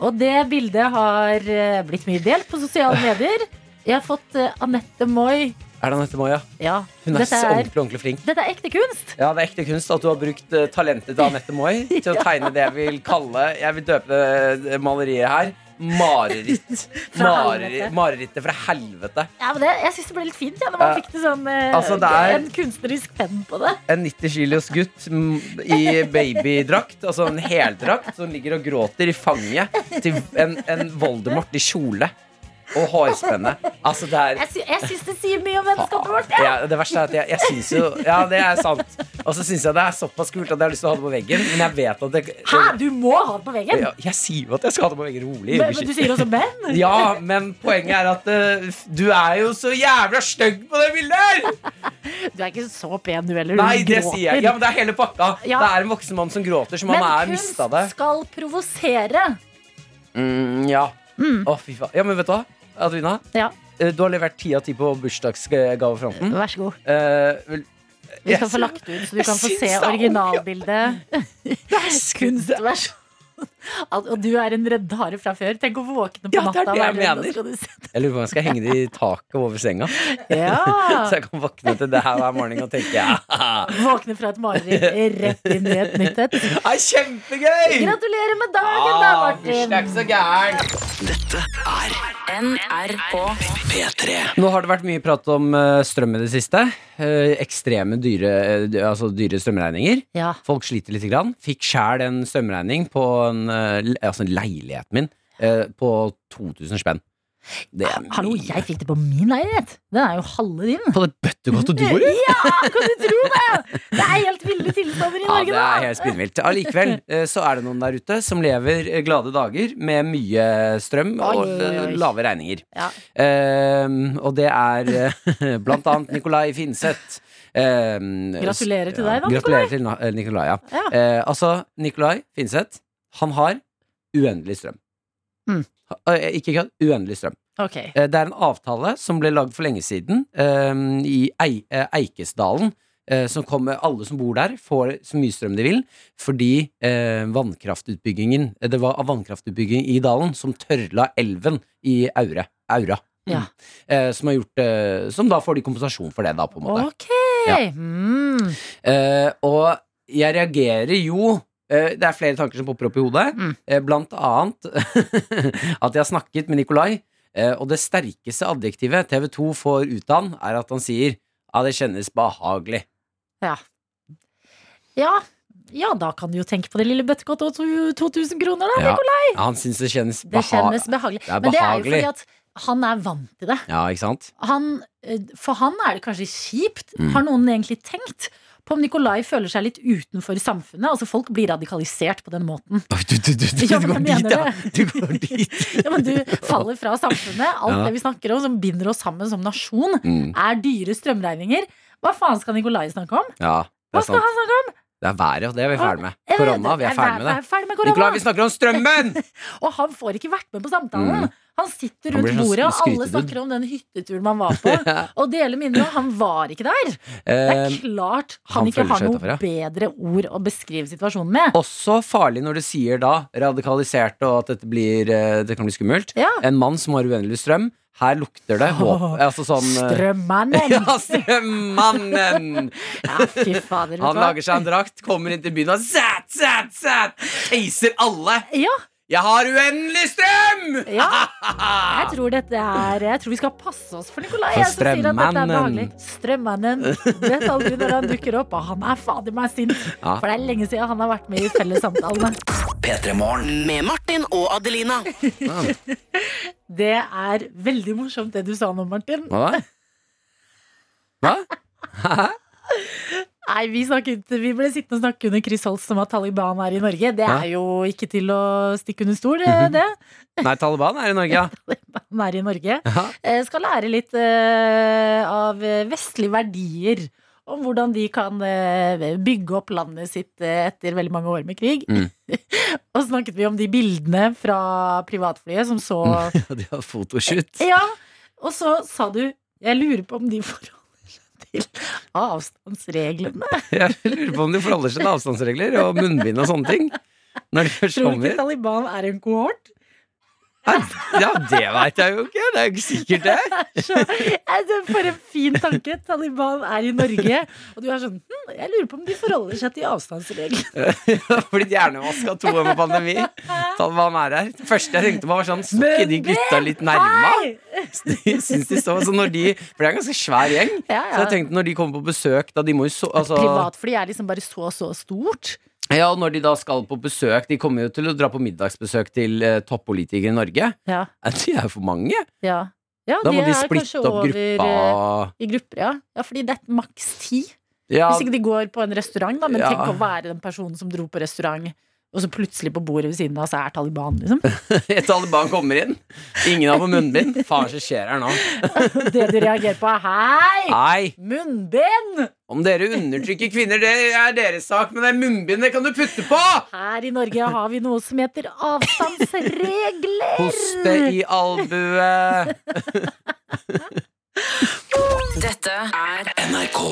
Og det bildet har eh, blitt mye delt på sosiale medier. Jeg har fått eh, Anette Moi. Er det Anette Moja? Ja, Hun er sånn. dette så er, ordentlig, ordentlig flink. dette er ekte kunst. Ja, det er ekte kunst at du har brukt eh, talentet til Anette Moi til å tegne det jeg vil kalle Jeg vil døpe det, det maleriet her mareritt. Fra Mareri, helvete. marerittet fra helvete. Ja, men det, jeg syns det ble litt fint ja, når man Eh, fikk det sånn, eh, altså, det er- en kunstnerisk penn på det. En 90 kilos gutt mm, i babydrakt, altså en heldrakt, som ligger og gråter i fanget til en, en Voldemort i kjole og hårspenne. Altså, det er Jeg, sy jeg syns det sier mye om vennskapet vårt. Ja. ja, det verste er at jeg, jeg syns jo Ja, det er sant. Og så syns jeg det er såpass kult at jeg har lyst til å ha det på veggen, men jeg vet at det, Hæ, du må ha det på veggen! Ja, jeg sier jo at jeg skal ha det på veggen rolig. Men, men du sier også men? Ja, men poenget er at eh, du er jo så jævla stygg på det bildet her! Du er ikke så pen du heller. Du Nei, det sier jeg. Ja, men det er hele pakka. Ja. Det er en voksen mann som gråter som Men han er kunst mista det. skal provosere. Mm, ja. Å, fy faen. Ja, men vet du hva, Adelina? Ja, Eh, Du har levert ti av ti på bursdagsgavefronten. vær så god. Eh, vel- Vi Jeg skal få sy- lagt ut, så du jeg kan få syns se det er originalbildet. Det er skudd. Vær så At- Og du er en reddhare fra før. Tenk å våkne på Ja, det er natta det jeg og være redd, mener. og skal du sitte- Jeg lurer på om jeg skal henge det i taket over senga. Ja. Så jeg kan våkne til det her hver morgen og tenke ja, Våkne fra et mareritt rett inn i et nytt et. det er kjempegøy! Gratulerer med dagen, da, Martin! Ah, så gæren. NRK. P3. Nå har det vært mye prat om eh, strøm i det siste. Eh, ekstreme dyre, eh, altså dyre strømregninger. Ja. Folk sliter litt. Grann. Fikk sjæl en strømregning på en, eh, le- altså leiligheten min eh, på 2000 spenn. Det er mye. Hallo, jeg fikk det på min leilighet! Den er jo halve din. På det bøttegottet du bor i? Ja, kan du tro det?! Det er helt ville tilstander i Ja, Norge, det da! er helt spinnvilt. Allikevel eh, så er det noen der ute som lever eh, glade dager med mye strøm og Oi, oi, oi. eh, lave regninger. Ja. Eh, og det er eh, blant annet Nikolai Finseth. Eh, Gratulerer til deg da, Gratulerer til Na- eh, Nikolai. Ja. Ja. Eh, altså, Nikolai Finseth, han har uendelig strøm. Mm. Ha- eh, Ikke kødd, uendelig strøm. Ok. Eh, Det er en avtale som ble lagd for lenge siden eh, i Ei- eh, Eikesdalen. eh, Som kommer, alle som bor der, får så mye strøm de vil, fordi eh, vannkraftutbyggingen eh, Det var av vannkraftutbygging i dalen som tørla elven i Aure. Aura. Ja. Eh, som, har gjort, eh, som da får de kompensasjon for det, da, på en måte. Ok! Ja. Mm. Eh, og jeg reagerer jo eh, Det er flere tanker som popper opp i hodet. Mm. Eh, blant annet at jeg har snakket med Nikolai, eh, og det sterkeste adjektivet TV2 får ut av han, er at han sier ja, det kjennes behagelig. Ja. ja. Ja, da kan du jo tenke på det lille bøttekottet og to- 2000 kroner, da. Ja, ja, han syns det kjennes Det behagelig. kjennes behagelig. Det er Men det er jo behagelig. fordi at han er vant til det. Ja, ikke sant? Han, eh, for han er det kanskje kjipt. Mm. Har noen egentlig tenkt på om Nikolai føler seg litt utenfor samfunnet? Altså Folk blir radikalisert på den måten. Oi, Du, du, du, du, Ja, du men går jeg dit, mener ja! det. Du går dit. Ja, men Du faller fra samfunnet. Alt Ja. det vi snakker om som binder oss sammen som nasjon, Mm, er dyre strømregninger. Hva faen skal Nikolai snakke om? ja, det Hva er skal sant. han snakke om? Det er været, og det er vi ferdig med. Jeg vet Korona, det. vi er ferdig med det. Ferdig med korona. Nikolai, vi snakker om strømmen! Og han får ikke vært med på samtalen. Mm. Han sitter Han rundt blir sånn bordet, og alle skrytedud. snakker om den hytteturen man var på. Og deler minner om han var ikke der. Det Eh, er klart han han, ikke føler har seg noe utenfor, ja. bedre ord å beskrive situasjonen med. Også farlig når du sier da radikalisert og at dette blir, eh, det kan bli skummelt. Ja. En mann som har uendelig strøm. Her lukter det håp. Åh, Altså sånn eh, Strømmannen! Ja, strømmannen! Ja, fy fader. vet du Han hva? lager seg en drakt, kommer inn til byen og zat, zat, zat! Taser alle! Ja, Jeg har uendelig strøm! ja. Jeg tror dette er Jeg tror vi skal passe oss for Nikolai. For jeg, som sier at dette er behagelig. strømmannen. Strømmannen. Vet aldri når han dukker opp, og han er fader meg sint. Ja. For det er lenge siden han har vært med i fellessamtalene. P3 Morgen. Med Martin og Adelina. Det er veldig morsomt det du sa nå, Martin. Hva da? Hva? Nei, vi, snakket, vi ble sittende og snakke under Chris Holst om at Taliban er i Norge. Det Ja. Mhm. er jo ikke til å stikke under stol, det. det. Nei, Taliban er i Norge, ja. Taliban er i Norge. Ja. Eh, Skal lære litt eh, av eh, vestlige verdier. Om hvordan de kan eh, bygge opp landet sitt eh, etter veldig mange år med krig. Mm. og snakket vi om de bildene fra privatflyet som så De har fotoshoot. Ja, og så sa du Jeg lurer på om de forholder seg til avstandsreglene. Jeg lurer på om de forholder seg til avstandsregler og munnbind og sånne ting. Når de først Tror du kommer. ikke Taliban er en kohort? Nei, Ja, det veit jeg jo ikke. Det er jo ikke sikkert, det. Så, eh, det- For en fin tanke. Taliban er i Norge. Og du er sånn hm, Jeg lurer på om de forholder seg til avstandsreglene. Jeg har Blitt hjernevaska to år med pandemi. Taliban er her. Det første jeg tenkte på, var sånn Står ikke de gutta litt nærma? Nei! De syns de står Så når de For det er en ganske svær gjeng. Så Ja, jeg ja. tenkte når de kommer på besøk, da de må jo så altså, Privatfly er liksom bare så, så stort. Ja, og når de da skal på besøk De kommer jo til å dra på middagsbesøk til eh, toppolitikere i Norge. Ja. Eh, De er jo for mange. ja. ja Da må de er splitte kanskje opp over, gruppa. eh, I grupper, ja. ja. Fordi det er maks ti. Ja, Hvis ikke de går på en restaurant, da. Men Ja. tenk å være den personen som dro på restaurant, og så plutselig på bordet ved siden av, så er Taliban, liksom. Taliban kommer inn. Ingen har på munnbind. Faen, så skjer her nå? Det du reagerer på er hei! Nei. Munnbind! Om dere undertrykker kvinner, det er deres sak, men det er munnbind det kan du putte på! Her i Norge har vi noe som heter avstandsregler. Hoste i albuet. Dette Dette er NRK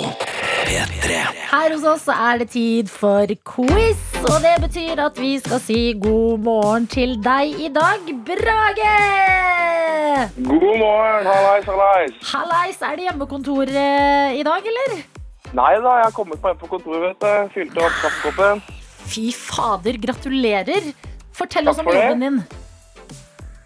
P3 Her hos oss så er det tid for quiz, og det betyr at vi skal si god morgen til deg i dag, Brage! God morgen, hallais, hallais. Hallais, er det hjemmekontor eh, i dag, eller? Nei da, jeg har kommet meg inn på kontoret, vet du. Fylte opp kaffekoppen. Fy fader, gratulerer! Fortell Takk oss om for det. jobben din.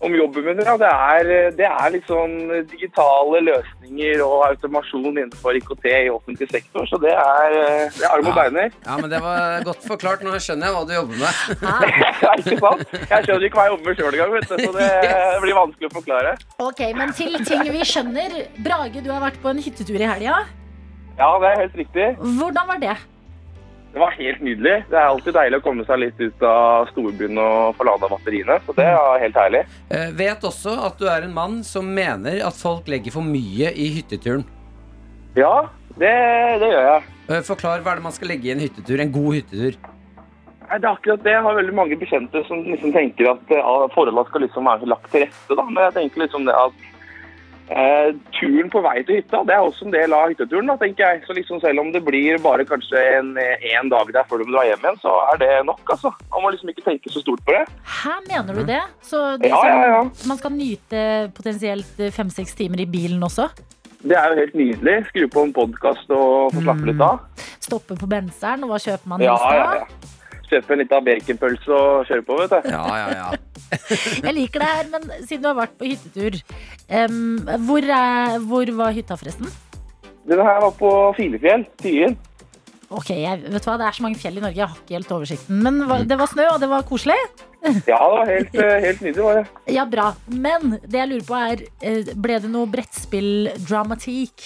Om jobben min, ja. Det er, det er liksom digitale løsninger og automasjon innenfor IKT i offentlig sektor, så det er, det er arm og beiner. Ja, men Det var godt forklart. Nå skjønner jeg hva du jobber med. Ja, ikke sant? Jeg skjønner ikke hva jeg jobber med sjøl engang, vet du, så det blir vanskelig å forklare. Ok, men til ting vi skjønner. Brage, du har vært på en hyttetur i helga. Ja, det er helt riktig. Hvordan var det? Det var helt nydelig. Det er alltid deilig å komme seg litt ut av storbyen og få lada batteriene, så det er helt herlig. Eh, vet også at du er en mann som mener at folk legger for mye i hytteturen. Ja, det, det gjør jeg. Eh, forklar hva er det man skal legge i en hyttetur. En god hyttetur. Nei, det er akkurat det. Jeg har veldig mange bekjente som liksom tenker at eh, ah, forholdene skal liksom være lagt til rette. Da. Men jeg tenker liksom det at eh, turen på vei til hytta, det er også en del av hytteturen, da, tenker jeg. Så liksom selv om det blir bare kanskje en, en dag der før du må dra hjem igjen, så er det nok, altså. Man må liksom ikke tenke så stort på det. Hæ, mener du det? Så det er Mhm. Ja, ja, ja. sånn- man skal nyte potensielt eh, fem-seks timer i bilen også? Det er jo helt nydelig. Skru på en podkast og få slappe litt av. Stoppe på benseren, og hva kjøper man Ja, helst da? ja, ja. Kjøpe en liten baconpølse og kjøre på, vet du. Ja, ja, ja. Jeg liker det her, men siden du har vært på hyttetur em, hvor, er, hvor var hytta forresten? Den her var på Filefjell, Tyen. Ok, jeg, vet du hva, Det er så mange fjell i Norge, jeg har ikke helt oversikten. Men Mm. hva, det var snø, og det var koselig. Ja, det var helt, eh, helt nydelig, var det. Ja, bra. Men det jeg lurer på er, eh, ble det noe brettspilldramatikk?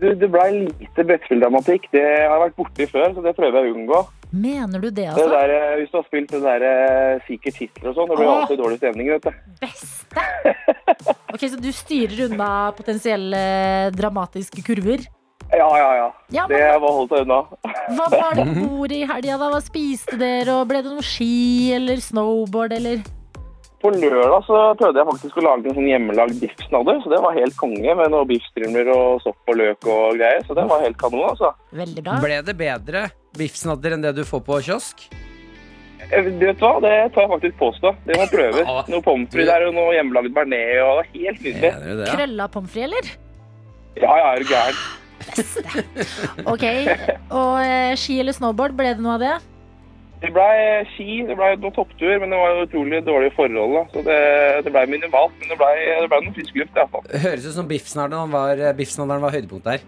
Du, det ble lite brettspilldramatikk. Det har jeg vært borti før, så det prøver jeg å unngå. Mener du det, Det altså? der, eh, hvis du har spilt det der eh, Secret Hitler og sånn, det blir Åh. alltid dårlig stemning, vet du. Beste! Ok, Så du styrer unna potensielle dramatiske kurver? Ja, ja, ja. Ja, Det men var holdt seg unna. Hva var det Mhm. om bord i helga? da? Hva spiste dere? og Ble det noe ski eller snowboard? eller? På lørdag så prøvde jeg faktisk å lage en sånn hjemmelagd biffsnadder, så det var helt konge med noen biffstrimler og sopp og løk og greier, så det var helt kanon, altså. Veldig bra. Ble det bedre biffsnadder enn det du får på kiosk? Eh, Du vet hva, det tar jeg faktisk påstå. Det må prøves. Ja. Noe pommes frites der og noe hjemmelagd bearnés, og det var helt nydelig. Mener du det? ja? Krølla pommes frites, eller? Ja, ja, er du gæren. Ok, Og eh, ski eller snowboard, ble det noe av det? Det blei ski, det blei noen topptur, men det var jo utrolig dårlige forhold. Da. Så det, det blei minimalt, men det blei det ble noe frisk luft. i hvert fall. Høres ut som biffsnadderen var, eh, biffsnadderen var høydepunktet her.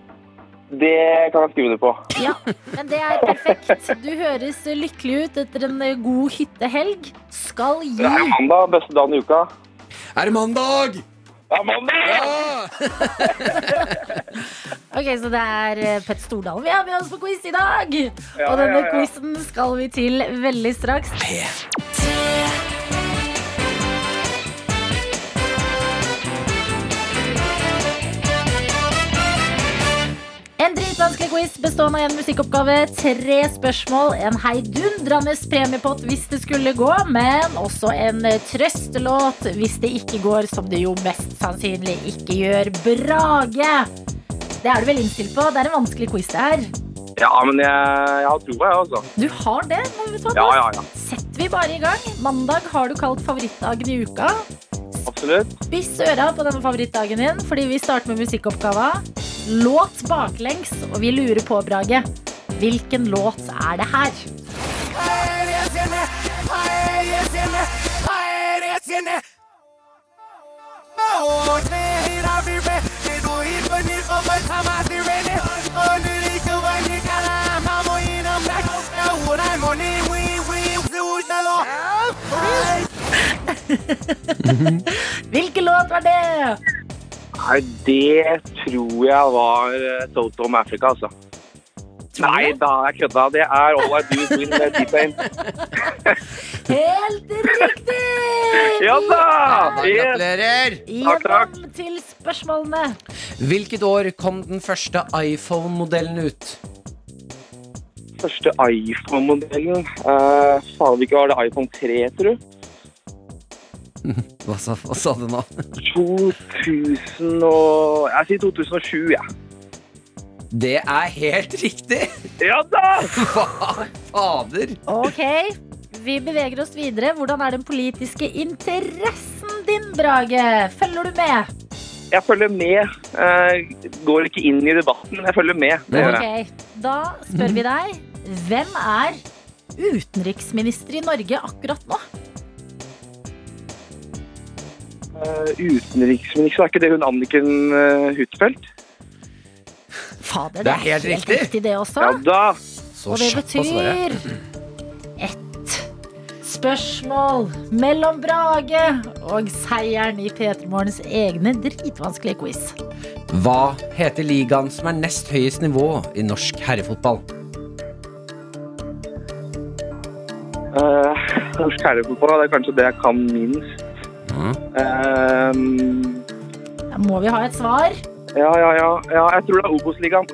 Det kan jeg skrive det på. Ja, men det er perfekt. Du høres lykkelig ut etter en eh, god hyttehelg. Skal Det er jo gi mandag, beste dagen i uka. Er det mandag? Det er mandag! Ok, så det er eh, Pet Stordalen vi har med oss på quiz i dag. Ja, Og denne ja, ja. quizen skal vi til veldig straks. En dritvanskelig quiz bestående av en musikkoppgave, tre spørsmål, en heidundrende premiepott hvis det skulle gå, men også en trøstelåt hvis det ikke går, som det jo mest sannsynlig ikke gjør. Brage! Det er du vel innstilt på? Det er en vanskelig quiz, det her. Ja, men jeg, jeg har troa, jeg, altså. Du har det? men Vet du hva? Ja, Da ja, ja. setter vi bare i gang. Mandag har du kalt favorittdagen i uka. Absolutt. Spiss øra på denne favorittdagen din, fordi vi starter med musikkoppgava. Låt baklengs, og vi lurer på, Brage, hvilken låt er det her? Hvilken låt var det? Nei, det tror jeg var eh, Toto om Africa, altså. Nei da, jeg kødda. Det er All I Do Is Win med T-Pain. Helt riktig! Ja da! Yes. Gratulerer! Takk, takk. Gjennom til spørsmålene. Hvilket år kom den første iPhone-modellen ut? Første iPhone-modellen. Eh, Faen, ikke var det iPhone 3, tror du? Hva sa, hva sa du nå? 2000 og Jeg sier 2007, jeg. Ja. Det er helt riktig! Ja da! Hva fader? Ok, vi beveger oss videre. Hvordan er den politiske interessen din, Brage? Følger du med? Jeg følger med. Eh, går ikke inn i debatten, jeg følger med. Det gjør jeg. Ok, Da spør vi deg. Hvem er utenriksminister i Norge akkurat nå? Eh, utenriksminister, er ikke det hun Anniken eh, Huitfeldt? Fader, Det er helt riktig. det også. Ja da! Så Og det kjapt å svare. betyr ett spørsmål mellom Brage og seieren i P3 Morgens egne dritvanskelige quiz. Hva heter ligaen som er nest høyest nivå i norsk herrefotball? Eh, norsk herrefotball det er kanskje det jeg kan minst. Eh, Da må vi ha et svar. ja, ja, ja, ja. Jeg tror det er Obos-ligaen.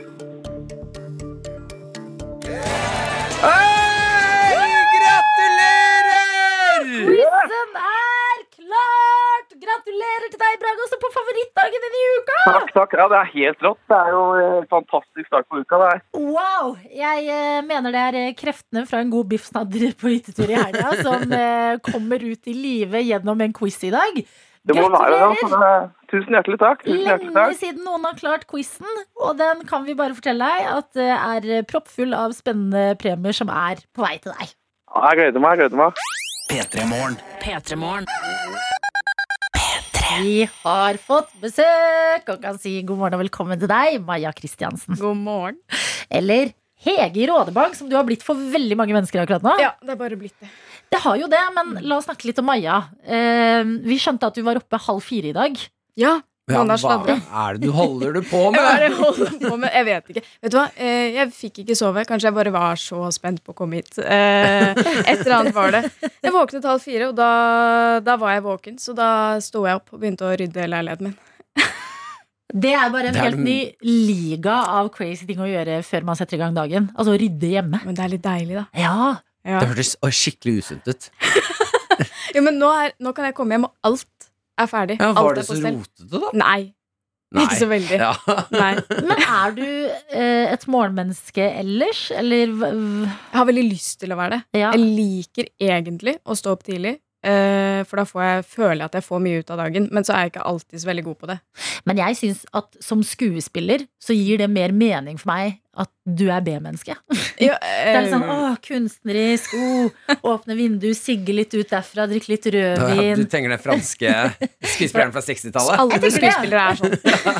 Gratulerer! Quizen er klart! Gratulerer til deg, Brage, også på favorittdagen din i uka! Takk, takk. Ja, det er helt rått. Det er jo eh, fantastisk start på uka. det her. Wow! Jeg eh, mener det er eh, kreftene fra en god biffsnadder på hyttetur i helga som eh, kommer ut i live gjennom en quiz i dag. Det må være det. Altså. det er- Tusen hjertelig takk. Tusen hjertelig Lenge takk. siden noen har klart quizen, og den kan vi bare fortelle deg at det er eh, proppfull av spennende premier som er på vei til deg. Ja, Jeg gleder meg. jeg gleder meg. P3-morgen. Vi har fått besøk og kan si god morgen og velkommen til deg, Maja Kristiansen. God morgen. Eller Hege i Rådebank, som du har blitt for veldig mange mennesker akkurat nå. Ja, det er bare blitt det. Det har jo det, men la oss snakke litt om Maja. Eh, vi skjønte at du var oppe halv fire i dag. Ja, Ja, mandag hva sladre. er det du holder du på Jeg bare med? holder på med Jeg vet ikke. Vet du hva, Eh, jeg fikk ikke sove. Kanskje jeg bare var så spent på å komme hit. Eh, Et eller annet var det. Jeg våknet halv fire, og da, da var jeg våken. Så da sto jeg opp og begynte å rydde leiligheten min. Det er bare en Det er helt ny liga av crazy ting å gjøre før man setter i gang dagen. Altså å rydde hjemme. Men det er litt deilig, da. Ja, Ja. Det hørtes å, skikkelig usunt ut. Jo, men nå, er, nå kan jeg komme hjem, og alt er ferdig. Ja, alt var er det så på stell. rotete, da? Nei, ikke så veldig. Ja. Nei. Men er du eh, et morgenmenneske ellers, eller hva- hva- Jeg har veldig lyst til å være det. ja. Jeg liker egentlig å stå opp tidlig, eh, for da får jeg, føler jeg at jeg får mye ut av dagen. Men så er jeg ikke alltid så veldig god på det. Men jeg syns at som skuespiller så gir det mer mening for meg at du er B-menneske. Det er litt sånn å, kunstnerisk, å, åpne vindu, sigge litt ut derfra, drikke litt Du rødvin. trenger den franske skuespilleren fra 60-tallet? alle Jeg tenker det. skuespillere er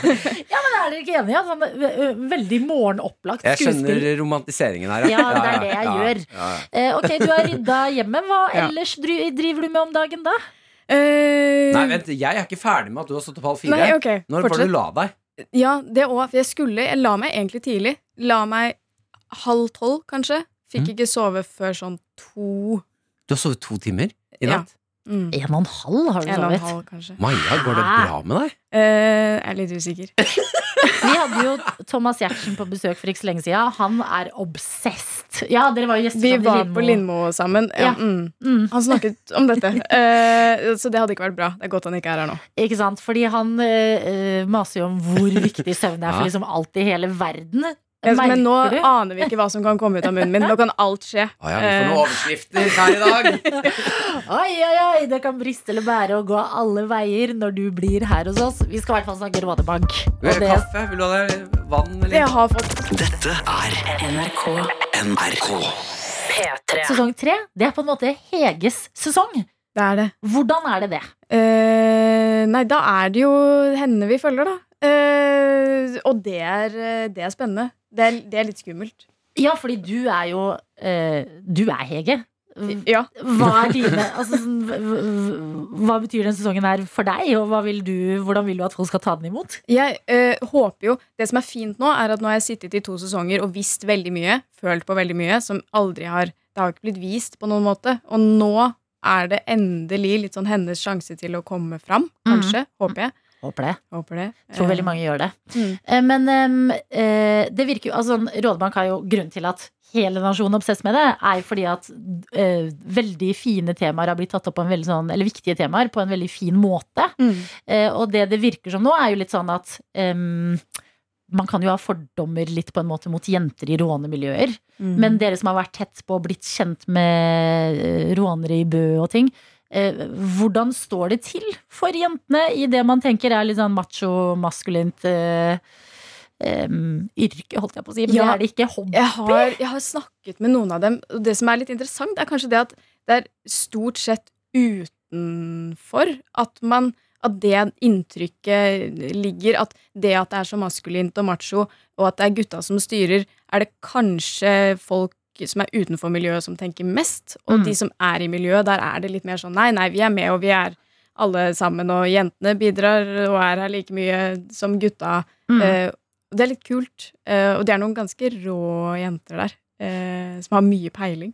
sånn. Ja, men er dere ikke enige? Sånn, ø, ø, veldig morgenopplagt Jeg skjønner skuespill. romantiseringen her. Ja, det er det jeg gjør. ja, ja. Eh, ok, du har rydda hjemmet. Hva Ja. ellers dri- driver du med om dagen, da? Eh, Nei, vent, jeg er ikke ferdig med at du har stått opp halv fire. Nei, ok, Når var det fortsett. du la deg? Ja, det òg. For jeg skulle Jeg la meg egentlig tidlig. La meg halv tolv, kanskje. Mm. Fikk ikke sove før sånn to Du har sovet to timer i Ja. natt? mm, En og en halv har du En og en sovet. halv, kanskje. Maja, går det Hæ? bra med deg? Eh, jeg er litt usikker. Vi hadde jo Thomas Giertsen på besøk for ikke så lenge siden. Han er obsessed. Ja, dere var jo gjester Vi sammen i var på Lindmo sammen. Ja. Ja. Mm. Mm, Han snakket om dette. Eh, så det hadde ikke vært bra. Det er godt han ikke er her nå. ikke sant? Fordi han eh, eh, maser jo om hvor viktig søvn er Ja. for liksom alt i hele verden. Jeg- men nå Merker du? aner vi ikke hva som kan komme ut av munnen min. Nå kan alt skje. Å Ah, ja, vi får Eh, noen overskrifter her i dag. Oi, oi, oi! Det kan briste eller bære og gå alle veier når du blir her hos oss. Vi skal i hvert fall snakke rådebank. Vil Og du det ha kaffe? Vil du ha deg vann? Eh, jeg Eller? har fått Dette er NRK NRK. sesong tre, det er på en måte Heges sesong. Det er det. Hvordan er det det? Eh, nei, da er det jo henne vi følger, da. Eh, og det er, eh, det er spennende. Det er, det er litt skummelt. Ja, fordi du er jo eh, Du er Hege. Ja. Hva er dine altså, sånn, v- v- Hva betyr den sesongen her for deg, og hva vil du, hvordan vil du at folk skal ta den imot? Jeg eh, håper jo Det som er fint nå, er at nå har jeg sittet i to sesonger og visst veldig mye, følt på veldig mye, som aldri har Det har ikke blitt vist på noen måte. Og nå er det endelig litt sånn hennes sjanse til å komme fram, kanskje. Håper jeg. Håper det. Håper det. Tror Eh, veldig mange gjør det. Mm. Eh, Men em, eh, det virker jo altså, sånn, Rådebank har jo grunn til at hele nasjonen er obsess med det, er jo fordi at eh, veldig fine temaer har blitt tatt opp på en veldig sånn, eller viktige temaer på en veldig fin måte. Mm. Eh, og det det virker som nå, er jo litt sånn at em, man kan jo ha fordommer litt på en måte mot jenter i rånemiljøer. Mm. Men dere som har vært tett på og blitt kjent med eh, rånere i Bø og ting, eh, hvordan står det til for jentene i det man tenker er litt sånn macho-maskulint eh, em, yrke, holdt jeg på å si, men det Ja. er det ikke. Hobby. Jeg har, jeg har snakket med noen av dem. Og det som er litt interessant, er kanskje det at det er stort sett utenfor at man at det inntrykket ligger At det at det er så maskulint og macho, og at det er gutta som styrer, er det kanskje folk som er utenfor miljøet, som tenker mest. Og Mm. de som er i miljøet, der er det litt mer sånn nei, nei, vi er med, og vi er alle sammen, og jentene bidrar og er her like mye som gutta. Mm. Eh, og det er litt kult. eh, og det er noen ganske rå jenter der. eh, som har mye peiling.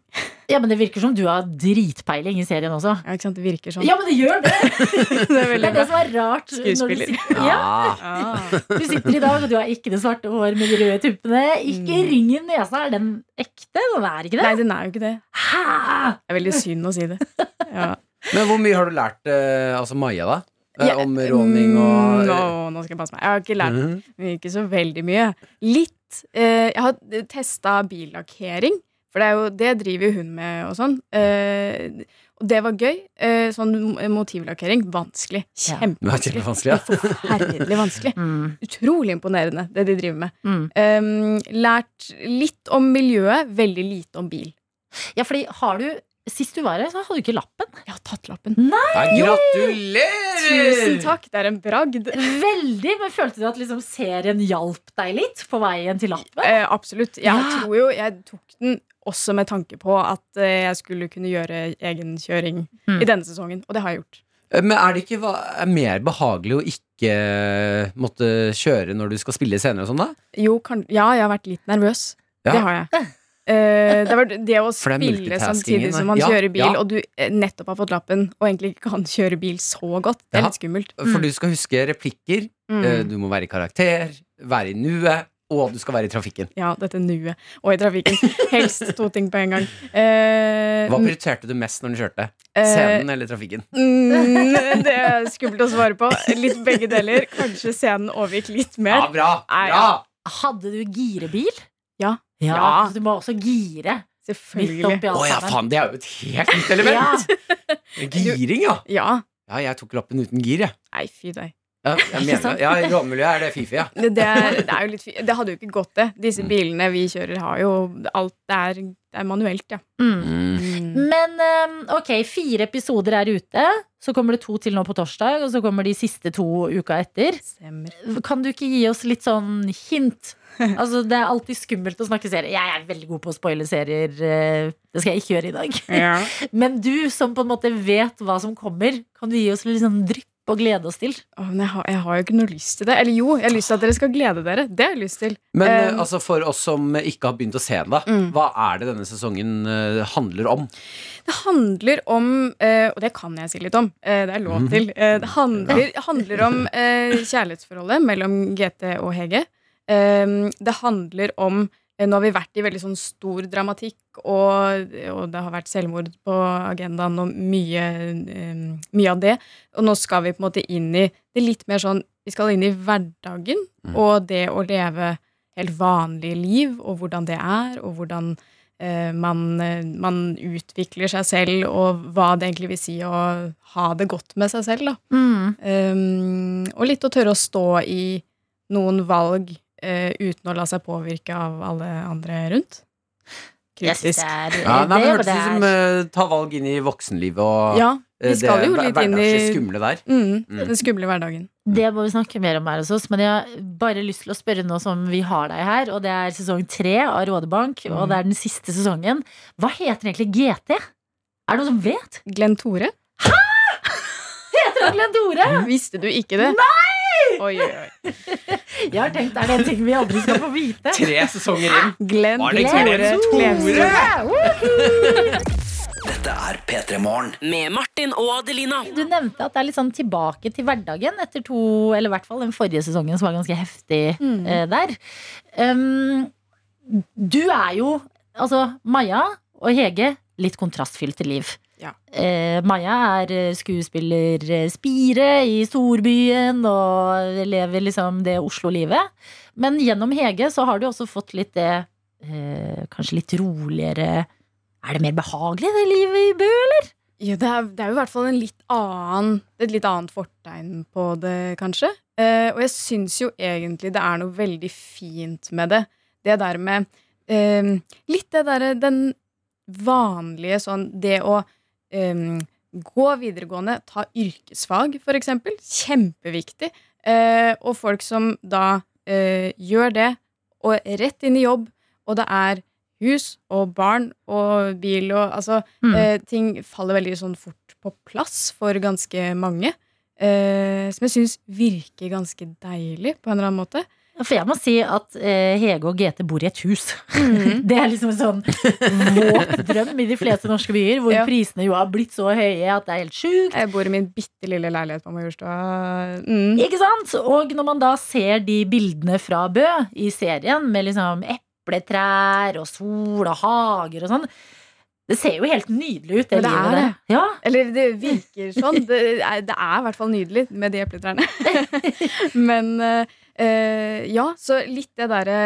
Ja, men det virker som du har dritpeiling i serien også. Ja, ikke sant? Det virker sånn. Ja, men det gjør det! det er Det veldig er det bra. som er rart. når du Skuespiller. sitter- Ja, Ja. Ah. du sitter i dag, og du har ikke det svarte hår med de røde tuppene. Ikke Mm. ringen nesa. Er den ekte? Den er ikke det. Nei, den er jo ikke det. Hæ? Det er veldig synd å si det. Ja. Men hvor mye har du lært eh, altså Maja, da? Eh, Ja, Om råning og Mm, Nå, nå skal jeg passe meg. Jeg har ikke lært Mhm. Men ikke så veldig mye. Litt. Eh, jeg har testa billakkering, for det, er jo, det driver jo hun med og sånn. Eh, og det var gøy. Eh, sånn mo- motivlakkering, vanskelig. Ja. Det var Kjempevanskelig. kjempevanskelig, ja. Forferdelig vanskelig. Mm. Utrolig imponerende, det de driver med. Mm. Eh, lært litt om miljøet, veldig lite om bil. Ja, fordi har du Sist du var her, så hadde du ikke lappen. Jeg har tatt lappen. Ja, gratulerer! Ah, Tusen takk, det er en bragd. Veldig, men følte du at liksom serien hjalp deg litt på veien til lappen? Eh, absolutt. Jeg Ja. tror jo jeg tok den også med tanke på at eh, jeg skulle kunne gjøre egenkjøring Hmm. Mm. i denne sesongen, og det har jeg gjort. Eh, Men er det ikke hva- er mer behagelig å ikke eh, måtte kjøre når du skal spille senere og sånn, da? Jo, kan, ja, jeg har vært litt nervøs. Ja. Det har jeg. Eh, det, var det å For det er spille multitaskingen, eh, samtidig som man ja, kjører bil, ja. og du eh, nettopp har fått lappen og egentlig ikke kan kjøre bil så godt, Ja. det er litt skummelt. For du skal huske replikker, eh, Mm. du må være i karakter, være i nuet, og du skal være i trafikken. Ja, dette nuet. Og i trafikken. Helst to ting på en gang. Eh, Hva prioriterte du mest når du kjørte? eh, Scenen eller trafikken? Mm, det er skummelt å svare på. Litt begge deler. Kanskje scenen overgikk litt Ja, mer. bra! Nei, bra. Hadde du girebil? Ja. ja. Ja. Så du må også gire. Midt Selvfølgelig. oppi Å alt ja, sammen. faen, det er jo et helt nytt element! Giring, ja. Ja. Ja, jeg tok lappen uten gir, jeg. Nei, fy deg. Ja, jeg mener, ja, I rånemiljøet er det fifi, ja. Det, det, er, det, er jo litt, fy- det hadde jo ikke gått, det. Disse Mm. bilene vi kjører, har jo alt Det er, det er manuelt, ja. Mm. Men ehm, ok, fire episoder er ute. Så kommer det to til nå på torsdag, og så kommer de siste to uka etter. Stemmer. Kan du ikke gi oss litt sånn hint? Altså, Det er alltid skummelt å snakke serier. Jeg er veldig god på å spoile serier. eh, Det skal jeg ikke gjøre i dag. Ja. Men du som på en måte vet hva som kommer, kan du gi oss litt sånn drypp og glede oss til? Å, men jeg har, jeg har jo ikke noe lyst til det. Eller jo, jeg har lyst til at dere skal glede dere. Det har jeg lyst til. Men eh, Um, altså, for oss som ikke har begynt å se den, da. Mm. Hva er det denne sesongen eh, handler om? Det handler om eh, Og det kan jeg si litt om. eh, det er lov til. Eh, det handler, handler om eh, kjærlighetsforholdet mellom GT og Hege. Eh, det handler om eh, Nå har vi vært i veldig sånn stor dramatikk, og, og det har vært selvmord på agendaen og mye, eh, mye av det. Og nå skal vi på en måte inn i det litt mer sånn Vi skal inn i hverdagen Mhm. og det å leve helt vanlige liv, og hvordan det er, og hvordan eh, man, eh, man utvikler seg selv, og hva det egentlig vil si å ha det godt med seg selv. Da. Um, og litt å tørre å stå i noen valg eh, uten å la seg påvirke av alle andre rundt. Jeg synes det Kritisk. er Ja, Eh, nei, men det- Hørtes det ut er- som eh, ta valg inn i voksenlivet og Ja, eh, vi skal det jo hver- litt inn i hverdagslig skumle der. mm, Mm. den skumle hverdagen. Det må vi snakke mer om her hos oss, men jeg har bare lyst til å spørre nå som vi har deg her, og det er sesong tre av Rådebank, Mm. og det er den siste sesongen. Hva heter egentlig GT? Er det noen som vet? Glenn Tore, Heter han Glenn Tore? visste du ikke det? Oi, oi, oi. Jeg har tenkt, er det en ting vi aldri skal få vite? Tre sesonger inn. Glenn Var det Glenn Tore Tore? Klevstrøm. Dette er P3 Morgen. Med Martin og Adelina. Du nevnte at det er litt sånn tilbake til hverdagen etter to, eller i hvert fall den forrige sesongen som var ganske heftig Mm. eh, der. Um, du er jo, altså Maja og Hege, litt kontrastfylte liv. Ja. Eh, Maja er eh, skuespiller eh, Spire i storbyen og lever liksom det Oslo-livet. Men gjennom Hege så har du også fått litt det eh, kanskje litt roligere Er det mer behagelig, det livet i Bø? Ja, det er, det er jo i hvert fall en litt annen, et litt annet fortegn på det, kanskje. Eh, og jeg syns jo egentlig det er noe veldig fint med det. Det der med eh, Litt det derre den vanlige sånn Det å eh, gå videregående, ta yrkesfag, for eksempel. Kjempeviktig. Eh, og folk som da eh, gjør det, og rett inn i jobb, og det er hus og barn og bil og Altså Mm. Eh, ting faller veldig sånn fort på plass for ganske mange. Eh, som jeg syns virker ganske deilig på en eller annen måte. For jeg må si at eh, Hege og GT bor i et hus. Mhm. Det er liksom en sånn våt drøm i de fleste norske byer, hvor Ja. prisene jo har blitt så høye at det er helt sjukt. Jeg bor i min bitte lille leilighet på Majorstua. Mm. Ikke sant? Og når man da ser de bildene fra Bø i serien, med liksom epletrær og sol og hager og sånn, det ser jo helt nydelig ut, det, Men det livet er der. det. Ja. Eller det virker sånn. Det er, det er i hvert fall nydelig med de epletrærne. Men eh, eh, ja, så litt det derre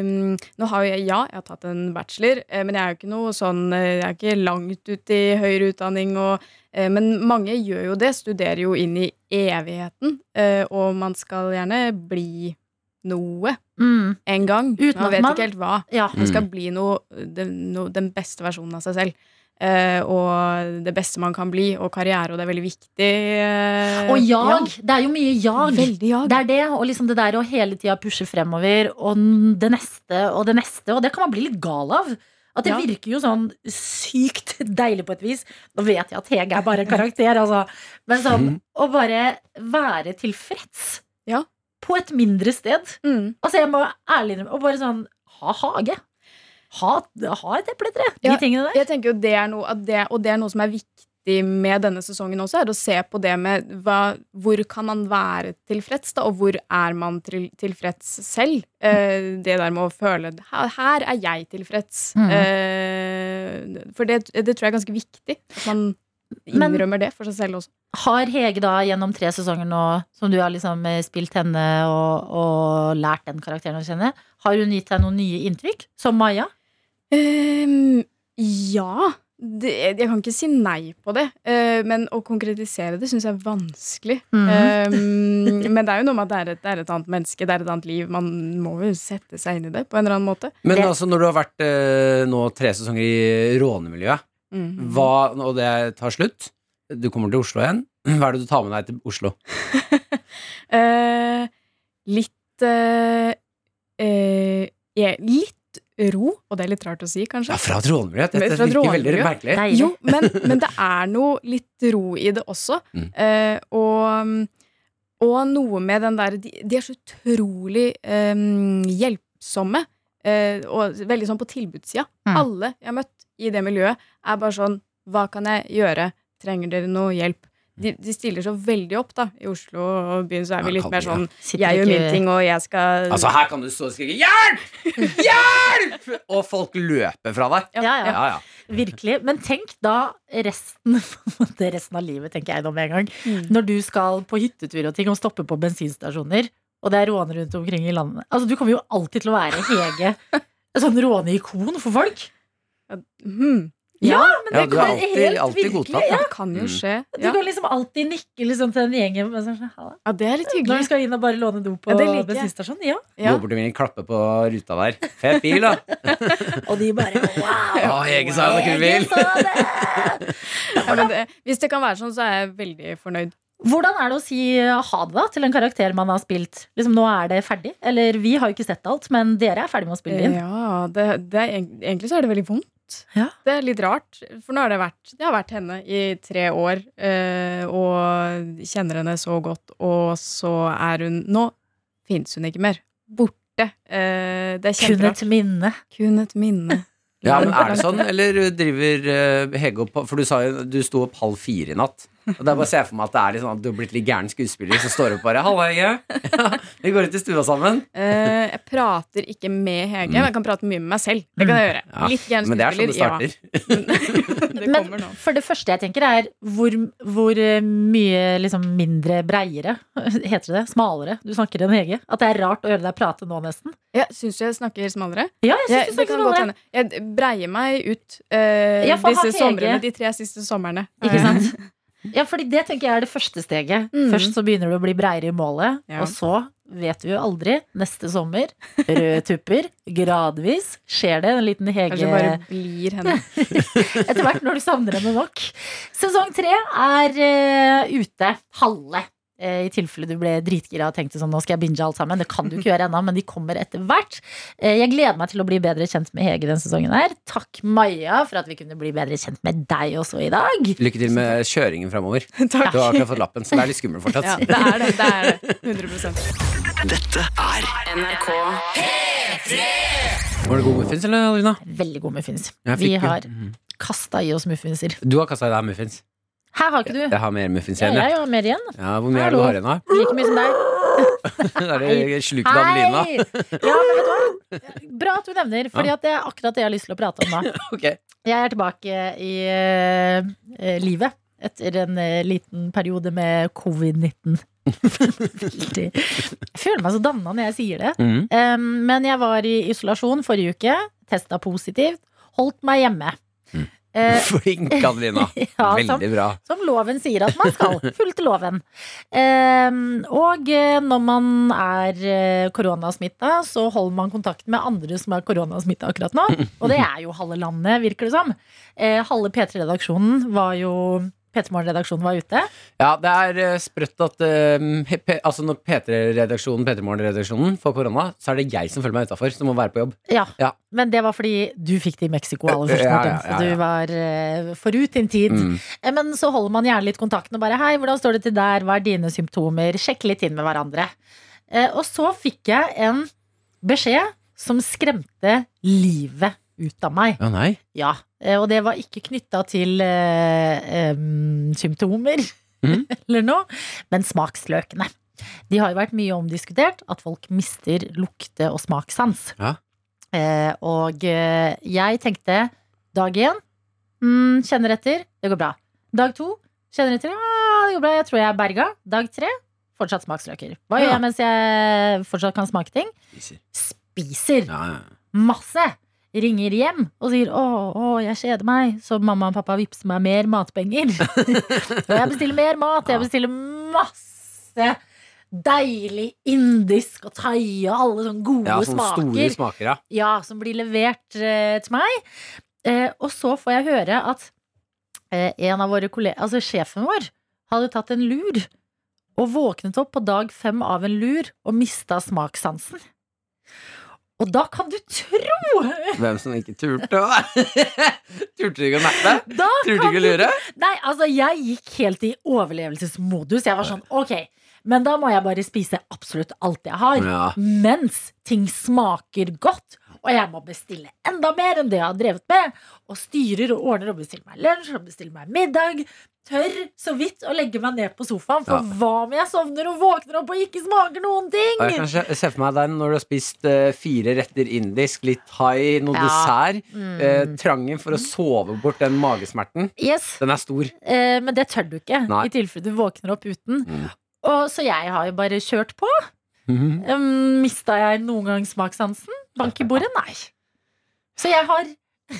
em, Nå har jo jeg Ja, jeg har tatt en bachelor, eh, men jeg er jo ikke noe sånn eh, Jeg er ikke langt ute i høyere utdanning og eh, Men mange gjør jo det. Studerer jo inn i evigheten. eh, og man skal gjerne bli noe Mm, en gang. Uten at man vet man- ikke helt hva. ja. Man skal bli noe, den, no, den beste versjonen av seg selv. Eh, og det beste man kan bli, og karriere, og det er veldig viktig. eh, Og jag. Det er jo mye Ja, jag. veldig jag. Det er det, og liksom det der å hele tida pushe fremover, og n- det neste og det neste, og det kan man bli litt gal av. At det Ja. virker jo sånn sykt deilig på et vis. Nå vet jeg at Hege er bare en karakter, altså. Men sånn å bare være tilfreds Ja. på et mindre sted. Mm. Altså, jeg må ærlig innrømme Og bare sånn ha hage. Ha, ha et epletre. De Ja, tingene der. Jeg tenker jo det er noe, at det, Og det er noe som er viktig med denne sesongen også, er å se på det med hva, hvor kan man være tilfreds, da, og hvor er man til, tilfreds selv? Eh, det der med å føle Her, her er jeg tilfreds. Mhm. Eh, for det, det tror jeg er ganske viktig. At man Men- innrømmer det for seg selv også. Har Hege da gjennom tre sesonger nå, som du har liksom eh, spilt henne og, og lært den karakteren å kjenne, har hun gitt deg noen nye inntrykk? Som Maja? Ehm, ja. Det, jeg kan ikke si nei på det. eh, men å konkretisere det syns jeg er vanskelig. Mhm. Ehm, men det er jo noe med at det er, et, det er et annet menneske, det er et annet liv. Man må jo sette seg inn i det på en eller annen måte. Men Det- altså, når du har vært eh, nå tre sesonger i rånemiljøet, Mhm. hva, og det tar slutt Du kommer til Oslo igjen. Hva er det du tar med deg til Oslo? Eh, litt eh, eh, jeg- Litt ro, og det er litt rart å si, kanskje. Ja, fra et rånemiljø. Det, Men det fra et virker veldig rånemiljø? merkelig. Deilig. Jo, men, men det er noe litt ro i det også. Mm. Eh, og, og noe med den der De, de er så utrolig eh, hjelpsomme. Eh, og veldig sånn på tilbudssida. Mm. Alle jeg har møtt i det miljøet, er bare sånn Hva kan jeg gjøre? Trenger dere noe hjelp? De, de stiller så veldig opp, da. I Oslo og byen så er Ja, vi litt kan mer vi, sånn Sitter Jeg gjør ikke- min ting, og jeg skal Altså, her kan du stå og skrike 'hjelp! Hjelp!' og folk løper fra deg. Ja, ja, Ja, ja. virkelig. Men tenk da resten, det resten av livet, tenker jeg nå med en gang. Mm. Når du skal på hyttetur og ting og stoppe på bensinstasjoner, og det er råne rundt omkring i landet. Altså, du kommer jo alltid til å være Hege. Et sånn råneikon for folk. hmm, Men ja det du er kan alltid, helt alltid virkelig, godtatt. Det Ja. kan jo Mm. skje. Du Ja, kan liksom alltid nikke liksom til den gjengen. men sånn, «Halla». ja det er litt Når du hyggelig. skal inn og bare låne do på Ja, det liker jeg. bensinstasjonen? Ja. Gå Ja. bort til min klappe på ruta der. Fet bil, da. Og de bare wow! Ja, Hege sa det, kul bil. Hege sa det! Ja, men det, hvis det kan være sånn, så er jeg veldig fornøyd. Hvordan er det å si uh, ha det da til en karakter man har spilt? Liksom, nå er det ferdig. Eller vi har jo ikke sett alt, men dere er ferdig med å spille inn. Ja, det, det er, egent- egentlig så er det veldig vondt. Ja. Det er litt rart, for nå har det vært Det har vært henne i tre år, eh, og kjenner henne så godt, og så er hun Nå fins hun ikke mer. Borte. Eh, det er Kun kjemperart. et minne. Kun et minne. sånn? Ja, men er det sånn, eller driver eh, Hege opp For du sa jo du sto opp halv fire i natt. Og da bare ser jeg for meg at det er litt sånn at du har blitt litt gæren skuespiller som står opp bare Halla, Hege. Vi går ut i stua sammen. Eh, jeg prater ikke med Hege, men jeg kan prate mye med meg selv. Det kan jeg gjøre. Ja, Litt gæren Men det er sånn det skuespiller, starter. ja. Det Men kommer nå. for det første jeg tenker, er hvor, hvor eh, mye liksom, mindre breiere Heter det det? Smalere du snakker enn Hege? At det er rart å høre deg prate nå, nesten? Ja, Syns du jeg snakker smalere? Ja, jeg Jeg, synes du det snakker kan godt smalere. hende. Jeg breier meg ut eh, Ja, for har disse Hege- somrene, de tre siste somrene. Eh, Ikke sant? Ja, fordi det tenker jeg er det første steget. Mm. Først så begynner du å bli breiere i målet, Ja. og så vet du jo aldri. Neste sommer, røde tupper. Gradvis skjer det en liten Hege Kanskje jeg bare blir henne. etter hvert når du savner henne nok. Sesong tre er eh, ute. Halve. Eh, I tilfelle du ble dritgira og tenkte sånn, nå skal jeg binge alt sammen. Det kan du ikke gjøre ennå, men de kommer etter hvert. Eh, jeg gleder meg til å bli bedre kjent med Hege denne sesongen. her. Takk, Maja, for at vi kunne bli bedre kjent med deg også i dag. Lykke til med kjøringen framover. Du har Takk. akkurat fått lappen, så det er litt skummelt fortsatt. Ja, det er det. det, er det. 100 NRK Var det god muffins, eller, Adelina? Veldig god muffins. Jeg Vi fikk jo- har kasta i oss muffinser. Du har kasta i deg muffins. Her har ikke du. Jeg har mer muffins Ja, igjen. jeg. jeg har mer igjen. Ja, hvor mye er det du har igjen, da? Like mye som deg. Er det slukt av Adelina? Hei! Ja, men vet du hva? Bra at du nevner, Fordi at det er akkurat det jeg har lyst til å prate om da. Ok. Jeg er tilbake i eh, livet etter en eh, liten periode med covid-19. Veldig. Jeg føler meg så danna når jeg sier det. Mhm. Um, men jeg var i isolasjon forrige uke. Testa positivt. Holdt meg hjemme. Eh, Flink, Adelina. ja, sånn. som, Mm. Veldig bra. som loven sier at man skal. Fulgte loven. Um, og eh, når man er eh, koronasmitta, så holder man kontakten med andre som er koronasmitta akkurat nå. Og det er jo halve landet, virker det som. Eh, halve P3-redaksjonen var jo P3 Morgen-redaksjonen var ute. Ja, det er eh, sprøtt at eh, he- pe- altså når P3-redaksjonen P3 Morgen-redaksjonen får korona, så er det jeg som føler meg utafor, som må være på jobb. Ja. Ja. Men det var fordi du fikk det i Mexico aller første, Ja, ja, Martin. ja, Så ja. du var eh, forut din tid. Mm. Eh, Men så holder man gjerne litt kontakten og bare Hei, hvordan står det til der? Hva er dine symptomer? Sjekke litt inn med hverandre. Eh, Og så fikk jeg en beskjed som skremte livet ut av meg. Å nei. Ja, eh, og det var ikke knytta til eh, em, symptomer Mhm. eller noe, men smaksløkene. De har jo vært mye omdiskutert, at folk mister lukte- og smakssans. Ja. Eh, og eh, jeg tenkte dag én mm, kjenner etter, det går bra. Dag to kjenner etter, ah, det går bra, jeg tror jeg er berga. Dag tre fortsatt smaksløker. Hva gjør Ja. jeg mens jeg fortsatt kan smake ting? Spiser. Spiser Ja, ja. masse. Ringer hjem og sier 'Å, å jeg kjeder meg', så mamma og pappa vippser meg mer matpenger. og jeg bestiller mer mat. Jeg bestiller masse deilig indisk og thai og alle sånne gode ja sånne store smaker. smaker, ja. Ja, som blir levert eh, til meg. Eh, og så får jeg høre at eh, en av våre kolleger, altså sjefen vår, hadde tatt en lur og våknet opp på dag fem av en lur og mista smakssansen. Og da kan du tro! Hvem som ikke turte å Turte du ikke å nappe? Da Turte du kan ikke å du- lure? Nei, altså, jeg gikk helt i overlevelsesmodus. Jeg var sånn, ok, men da må jeg bare spise absolutt alt jeg har. Ja. Mens ting smaker godt, og jeg må bestille enda mer enn det jeg har drevet med. Og styrer og ordner og bestiller meg lunsj og bestiller meg middag. Tør så vidt å legge meg ned på sofaen, for Ja. hva om jeg sovner og våkner opp og ikke smaker noen ting? Og jeg kan se se for meg deg når du har spist eh, fire retter indisk, litt thai, noe Ja. Mm. dessert. Eh, trangen for å sove bort den magesmerten, Yes, den er stor. eh, Men det tør du ikke, Nei. i tilfelle du våkner opp uten. Mm. Og, så jeg har jo bare kjørt på. Mhm. Um, mista jeg noen gang smakssansen? Bank i bordet? Nei. Så jeg har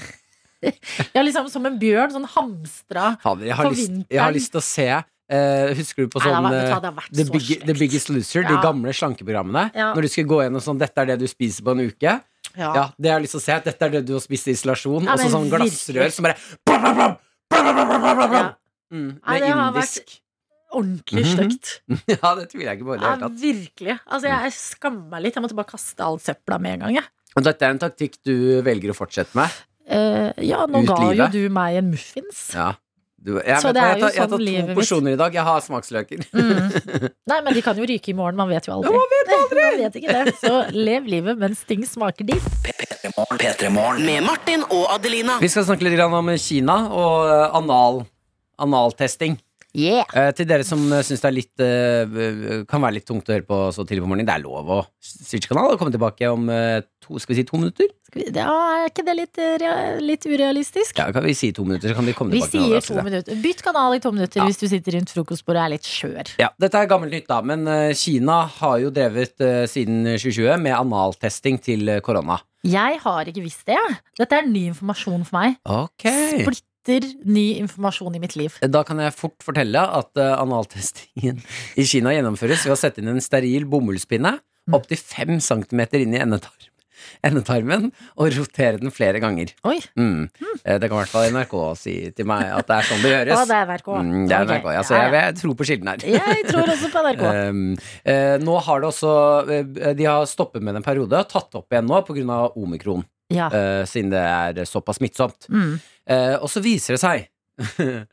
Jeg har liksom som en bjørn sånn hamstra Fader, jeg har, For lyst, jeg vinteren. har lyst til å se eh, Husker du på Nei, det sånn har vært- vet du hva, eh, det har vært The, så Big, slekt. The Biggest Loser, de Ja. gamle slankeprogrammene? Ja. Når du skulle gå gjennom sånn 'Dette er det du spiser på en uke'. Ja. Ja, det har jeg lyst til å se. Dette er det du har spist i isolasjon. Ja, og så men sånn glassrør virkelig. som bare blam, blam, blam, blam, blam, blam, blam, blam. Ja, Mm, Nei, Med det har indisk. ordentlig Mhm. stygt. Ja, det tviler jeg ikke på i det Ja, hele tatt. virkelig. Altså, jeg skammer meg litt. Jeg måtte bare kaste all søpla med en gang. Jeg. Og dette er en taktikk du velger å fortsette med. Eh, ja, nå Ut ga jo livet. du meg en muffins. Ja. Du, jeg, Så det er vet hva, jeg, jo tar, jeg har sånn tatt livet to mitt- porsjoner i dag. Jeg har smaksløker. Mm. Nei, men de kan jo ryke i morgen. Man vet jo aldri. Man vet, ikke det. Så lev livet mens ting smaker ditt. P3morgen. P3morgen. Med Martin og Adelina. Vi skal snakke litt grann om Kina og eh, anal analtesting. Yeah. Eh, til dere som eh, syns det er litt eh, kan være litt tungt å høre på så tidlig på morgenen, det er lov å switche kanal og komme tilbake om eh, to, skal vi si to minutter? Skal vi- Ja, er ikke det litt, eh, rea- litt urealistisk? Ja, kan vi si to minutter, så kan vi komme Vi tilbake. med sier overraskelse. to minutter. Bytt kanal i to minutter Ja. hvis du sitter rundt frokostbordet og er litt skjør. Ja, Dette er gammelt nytt, da, men eh, Kina har jo drevet eh, siden 2020 med analtesting til eh, korona. Jeg har ikke visst det. jeg. Dette er ny informasjon for meg. Ok Splitter ny informasjon i mitt liv. Da kan jeg fort fortelle at eh, analtestingen i Kina gjennomføres ved å sette inn en steril bomullspinne Mm. opptil 5 cm inn i endetarm, endetarmen og rotere den flere ganger. Oi. Mm. Eh, Det kan i hvert fall NRK si til meg at det er sånn det Å, gjøres. det er NRK. Mm, det er Ok. NRK, ja, så jeg, jeg tror på kilden her. Ja, ja. Jeg tror også på NRK. Um, eh, nå har det også eh, De har stoppet med det en periode, og tatt opp igjen nå pga. omikron, Ja. eh, siden det er såpass smittsomt. Mm. Eh, og så viser det seg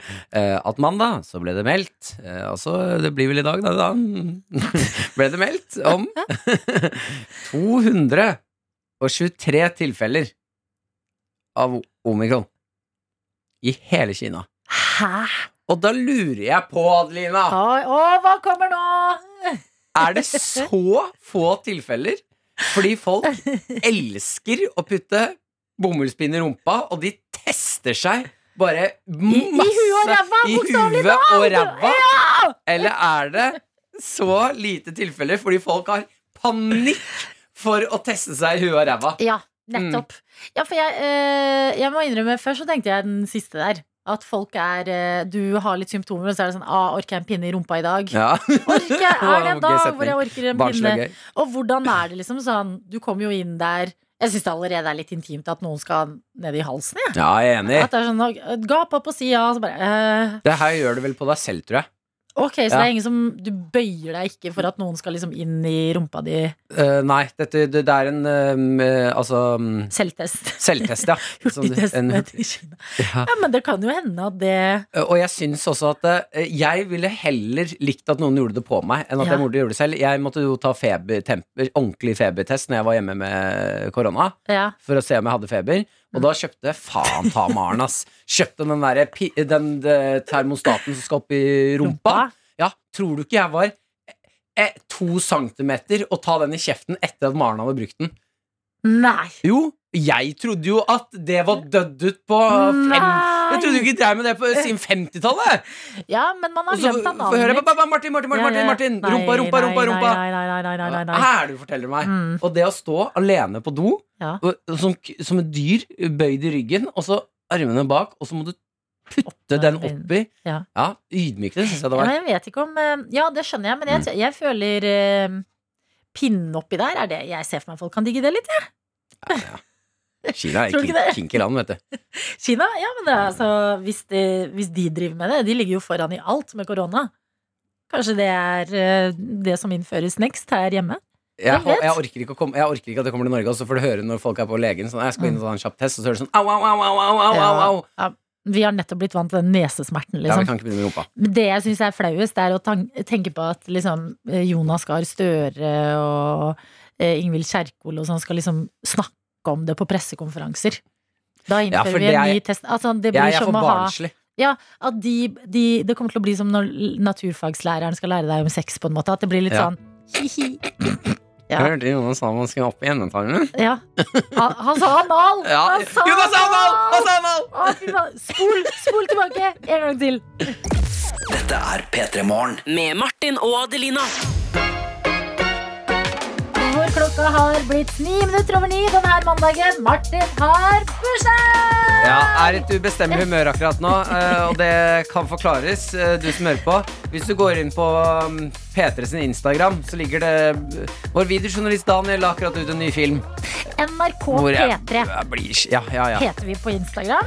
eh, at mandag så ble det meldt eh, Altså, det blir vel i dag, da, da ble det meldt om 223 tilfeller av omikron i hele Kina. Hæ? Og da lurer jeg på, Adelina Oi, Å, hva kommer nå? Er det så få tilfeller? Fordi folk elsker å putte bomullspinn i rumpa, og de tester seg bare I, i huet og masse ræva, i bokstavelig huet og ræva. Ja! Eller er det så lite tilfeller fordi folk har panikk for å teste seg i huet og ræva? Ja, Mm. nettopp. Ja, for jeg, eh, jeg må innrømme, først så tenkte jeg den siste der. At folk er eh, Du har litt symptomer, og så er det sånn ah, Orker jeg en pinne i rumpa i dag? Ja. Orker jeg, Er det en dag hvor jeg orker en Barnslig pinne? gøy. Og hvordan er det liksom sånn Du kommer jo inn der Jeg syns det allerede er litt intimt at noen skal ned i halsen. Jeg. Ja, jeg er enig. At det er sånn «Å, Gap opp og si ja, og så bare eh, Det her gjør du vel på deg selv, tror jeg. Ok, så Ja. det er ingen som Du bøyer deg ikke for at noen skal liksom inn i rumpa di. Eh, nei, dette, det, det er en eh, altså mm, Selvtest. selvtest, ja. Som du- en- Hurtigtestene til Kina. ja. Ja, men det kan jo hende at det Eh, Og jeg syns også at eh, jeg ville heller likt at noen gjorde det på meg, enn at Ja. jeg burde gjøre det selv. Jeg måtte jo ta febertemper, ordentlig febertest når jeg var hjemme med korona, Ja. for å se om jeg hadde feber. Og da kjøpte faen ta Maren, ass. Kjøpte den derre pi- den, eh, termostaten som skal opp i rumpa. Ja, tror du ikke jeg var eh, to centimeter å ta den i kjeften etter at Maren hadde brukt den? Nei. Jo, jeg trodde jo at det var dødd ut på fem Nei. Jeg trodde jo ikke drev med det på siden 50-tallet! Ja, men man Og har så glemt av får jeg høre navnet mitt. ba, ba, ba, Martin, Martin, Martin, Ja, ja, Martin, ja. Martin. Nei, Rumpa, rumpa, nei, rumpa, nei, rumpa. Nei, nei, nei, nei, nei, Hva nei. er det du forteller meg? Mm. Og det å stå alene på do, Ja. og, og som, som et dyr bøyd i ryggen, og så armene bak, og så må du putte med den bein. oppi. Ja. Ja, ydmyke det, syns jeg det Ja, var. Mm. men jeg vet ikke om eh, Ja, det skjønner jeg, men jeg, t- jeg føler eh, Pinnen oppi der, er det jeg ser for meg folk kan digge det litt? Ja. Kina er Tror du ikke kink- det? kinky land, vet du. Kina? Ja, men det er altså hvis de, hvis de driver med det De ligger jo foran i alt med korona. Kanskje det er eh, det som innføres next her hjemme? Jeg, Hvem vet? jeg, orker ikke å komme, jeg orker ikke at det kommer til Norge, og så får du høre når folk er på legen sånn, jeg skal inn og ta en kjapp test, og så hører du sånn au, au, au, au, au, au, au, au. Ja, vi har nettopp blitt vant til den nesesmerten, Ja, vi liksom. kan ikke begynne med rumpa. Men det jeg syns er flauest, er å tan- tenke på at liksom, eh, Jonas Gahr Støre og eh, Ingvild Kjerkol og sånn skal liksom snakke om det på pressekonferanser. Da Ja, innfører for vi det en er- ny test. Altså, det blir Jeg er som for å ha barnslig. ja, at de, de, Det kommer til å bli som når l- naturfagslæreren skal lære deg om sex, på en måte. At det blir litt Ja. sånn hi-hi. Ja. Jeg hørte Jonas sa man skulle opp i endetarmen. Ja. Han, han sa anal! Ja. Han sa Jonas Anal! Jonas Anal! Å, fy faen. Spol, spol tilbake en gang til. Dette er P3 Morgen. Med Martin og Adelina. Hvor klokka har blitt ni minutter over ni denne mandagen. Martin har bursdag! Ja, er et ubestemmelig humør akkurat nå, eh, og det kan forklares, eh, du som hører på. Hvis du går inn på um, P3 sin Instagram, så ligger det eh, Vår videojournalist Daniel har akkurat ut en ny film. NRK hvor jeg- P3 jeg blir- Ja, ja, ja. heter vi på Instagram.